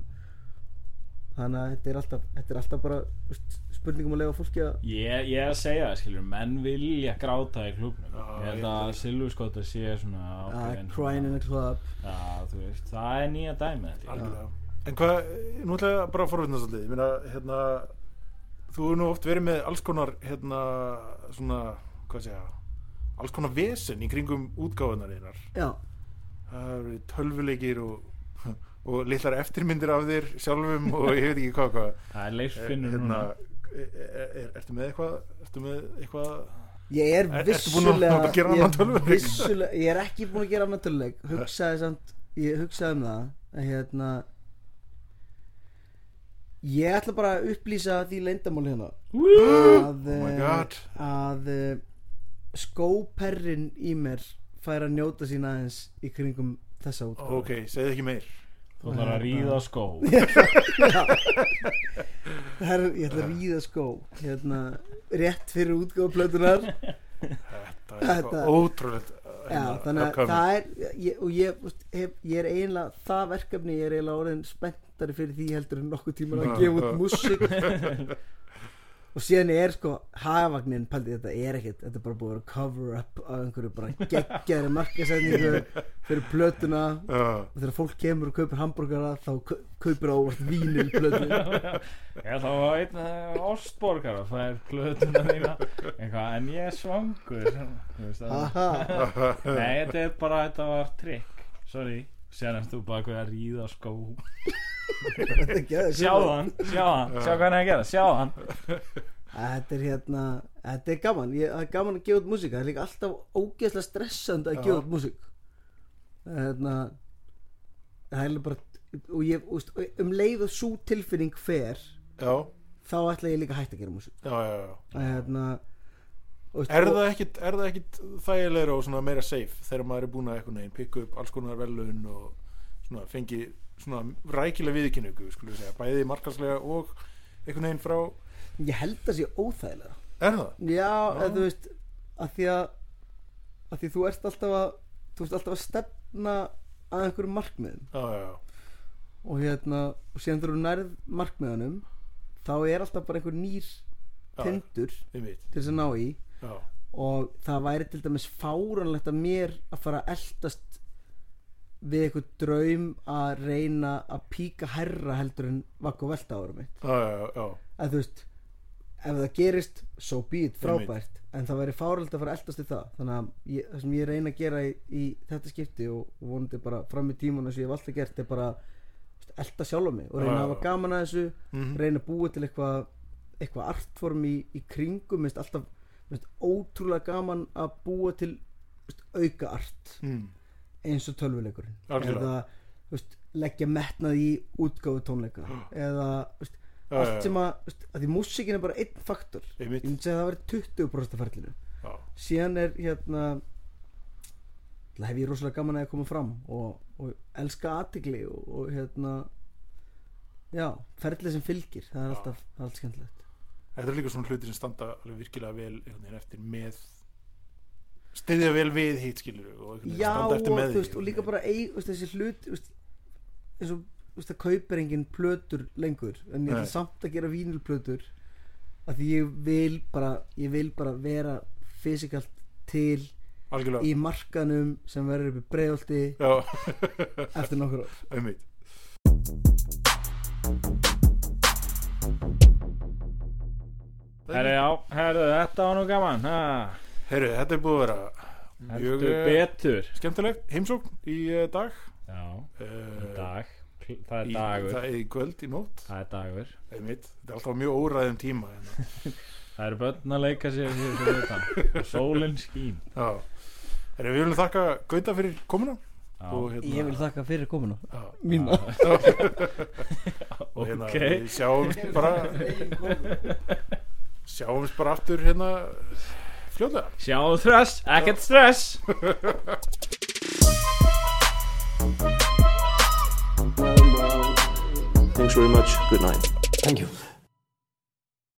Speaker 4: þannig að þetta er alltaf, þetta er alltaf bara veist, spurningum að lega fólki að
Speaker 1: Ég, ég er að segja það, skilur, menn vilja gráta í klubnum
Speaker 3: Já,
Speaker 1: Ég
Speaker 3: ég
Speaker 1: held að Silvurskotta sé svona
Speaker 4: að
Speaker 1: ákveðin
Speaker 4: Ah, crying in a club
Speaker 1: Já, þú veist, það er nýja dæmi þetta
Speaker 3: Algjörlega En hvað, nú ætla ég bara að forvitna svolítið Ég meina, hérna Þú hefur nú oft verið með alls konar hérna, svona, hvað segja alls konar vesen í kringum útgáfunar einar
Speaker 4: já,
Speaker 3: það hefur verið tölvuleikir og, og litlar eftirmyndir af þér sjálfum og ég veit ekki hvað hvað
Speaker 1: Það er
Speaker 3: Eh,
Speaker 1: leiffinnur
Speaker 3: hérna-
Speaker 1: núna
Speaker 3: er, er, e, er, ertu með eitthvað ertu með eitthvað
Speaker 4: ég er
Speaker 3: Er- ertu búin að-
Speaker 4: vissulega
Speaker 3: að gera
Speaker 4: ég,
Speaker 3: annan
Speaker 4: er
Speaker 3: tölvuleik?
Speaker 4: vissulega ég er ekki búin að gera annan töluleik hugsaði samt, ég hugsaði um það að hérna ég ætla bara að upplýsa því leyndamáli hérna að,
Speaker 3: oh my
Speaker 4: eh,
Speaker 3: god
Speaker 4: að eh, skóperrin í mér fær að njóta sín aðeins í kringum þessa út
Speaker 3: ok, segðu ekki meir
Speaker 1: Þú ætlar
Speaker 3: hérna-
Speaker 1: að ríða á skó
Speaker 4: Her, ég ætla að ríða skó hérna, rétt fyrir útgáðplötunar
Speaker 3: þetta er
Speaker 4: Þetta-
Speaker 3: eitthvað ótrúlegt uh,
Speaker 4: Já,
Speaker 3: hérna,
Speaker 4: þannig að
Speaker 3: upcoming.
Speaker 4: það er ég, og ég, þú veist, hef, ég er eiginlega það verkefni, ég er eiginlega orðin spenntari fyrir því heldur en nokkuð tíma að
Speaker 3: Já,
Speaker 4: gefa út
Speaker 3: já.
Speaker 4: músík og síðan er sko hafagnin paldið þetta er ekkert þetta er bara búið að vera cover up af einhverju bara geggjæri markasendingu fyrir plötuna
Speaker 3: Já.
Speaker 4: og þegar fólk kemur og kaupir hambúrgara þá kau- kaupir það óvart vínil plötu
Speaker 1: Ég þá var einn eh, ástborgar og það er plötuna mína eitthvað, en ég er svangur Þú veist það
Speaker 4: haha
Speaker 1: Nei, þetta er bara, þetta var trikk Sorry, sér ennst þú bara hvað að ríða skó
Speaker 4: þetta er geðið
Speaker 1: Sjáðu hann, sjáðu hann, sjá hvað hann er að gera, sjáðu hann
Speaker 4: þetta er hérna þetta er gaman ég, það er gaman að gefa út músík það er líka alltaf ógeðslega stressand að
Speaker 3: Já.
Speaker 4: gefa út músík hérna það er bara og ég úst, um leið og svo tilfinning fer
Speaker 3: já,
Speaker 4: þá ætla ég líka að hætta að gera músík
Speaker 3: já, já, já.
Speaker 4: hérna, og,
Speaker 3: Er það ekkit, er það ekkit þægilegra og svona meira safe þegar maður er búin að eitthvað neginn pikka upp alls konar velun og svona fengi svona rækilega viðkynningu, skulum við segja, bæði markarslega og einhvern veginn frá
Speaker 4: ég held það sé óþægilega
Speaker 3: Er það?
Speaker 4: já, eða þú veist að því að, að því þú ert alltaf að þú ert alltaf að stefna að einhverjum markmiðum
Speaker 3: Já, já, já,
Speaker 4: og hérna, og síðan þú eru nærð markmiðunum þá er alltaf bara einhver nýr tindur
Speaker 3: ég veit
Speaker 4: til þess að ná í
Speaker 3: Já,
Speaker 4: og það væri til dæmis fáranlegt að mér að fara að eldast við einhver draum að reyna að píka herra heldur en vakku velta ára mitt
Speaker 3: já, já, já,
Speaker 4: að þú veist ef það gerist, so be it,
Speaker 3: Einmitt.
Speaker 4: frábært en það væri fáröld að fara að eldast í það þannig að ég, það sem ég reyna að gera í, í þetta skipti og, og vonandi bara fram í tíman eins og ég hef alltaf gert er bara þú veist, elda sjálfa mig og reyna
Speaker 3: Já, já,
Speaker 4: að hafa
Speaker 3: já.
Speaker 4: gaman að þessu
Speaker 3: Mhm.
Speaker 4: reyna að búa til eitthvað eitthvað artform í, í kringum minnst alltaf minnst ótrúlega gaman að búa til minnst, auka art
Speaker 3: Mm.
Speaker 4: eins og tölvuleikurinn
Speaker 3: Algjörlega.
Speaker 4: eða þú veist, leggja metnað í útgáfu tónleika eða þú veist,
Speaker 3: Já, já, já.
Speaker 4: allt sem að, þú veist, að því músikin er bara einn faktor ég
Speaker 3: Einmitt.
Speaker 4: myndi segja að það verið 20% af ferlinu
Speaker 3: já,
Speaker 4: síðan er hérna það hef ég rosalega gaman að koma fram og, og elska aðtigli og, og hérna já, ferlið sem fylgir það er
Speaker 3: Já.
Speaker 4: alltaf, það er alltaf skemmtilegt
Speaker 3: Þetta er líka svona hlutir sem standa alveg virkilega vel einhvern veginn eftir með styðja vel við hitt skilur og einhvern veginn
Speaker 4: já,
Speaker 3: standa
Speaker 4: og,
Speaker 3: eftir með
Speaker 4: þú veist, og líka bara ei, þú veist, þessi hlut þú veist, eins og þú veist, það kaupir engin plötur lengur en ég
Speaker 3: Nei.
Speaker 4: ætla samt að gera vínilplötur af því ég vil bara ég vil bara vera fysikalt til
Speaker 3: Algjörlega,
Speaker 4: í markanum sem verður upp í breiðolti
Speaker 3: já,
Speaker 4: eftir nokkur ár
Speaker 3: einmitt
Speaker 1: Herri, já, herru, þetta var nú gaman ha.
Speaker 3: Herru, þetta er búið að vera
Speaker 1: Heldur
Speaker 3: mjög eh,
Speaker 1: betur
Speaker 3: skemmtilegt heimsókn í eh, dag
Speaker 1: Já, um
Speaker 3: uh,
Speaker 1: dag, það er
Speaker 3: í,
Speaker 1: dagur
Speaker 3: Það er í kvöld í nótt
Speaker 1: Það er dagur
Speaker 3: einmitt, Þetta er alltaf á mjög óræðum tíma hérna.
Speaker 1: Það eru börn að leika sér hér fyrir utan og sólinn skín
Speaker 3: Já Herru, við viljum þakka Gauta fyrir komuna
Speaker 1: Já.
Speaker 3: og hérna,
Speaker 4: ég vil þakka fyrir komuna
Speaker 3: já,
Speaker 4: mína
Speaker 3: og hérna
Speaker 1: Ok.
Speaker 3: við sjáumst bara sjáumst bara aftur hérna fljóðlega
Speaker 1: Sjáum stress, ekkert stress
Speaker 6: Well, well, thanks very much. Good night.
Speaker 5: Thank you.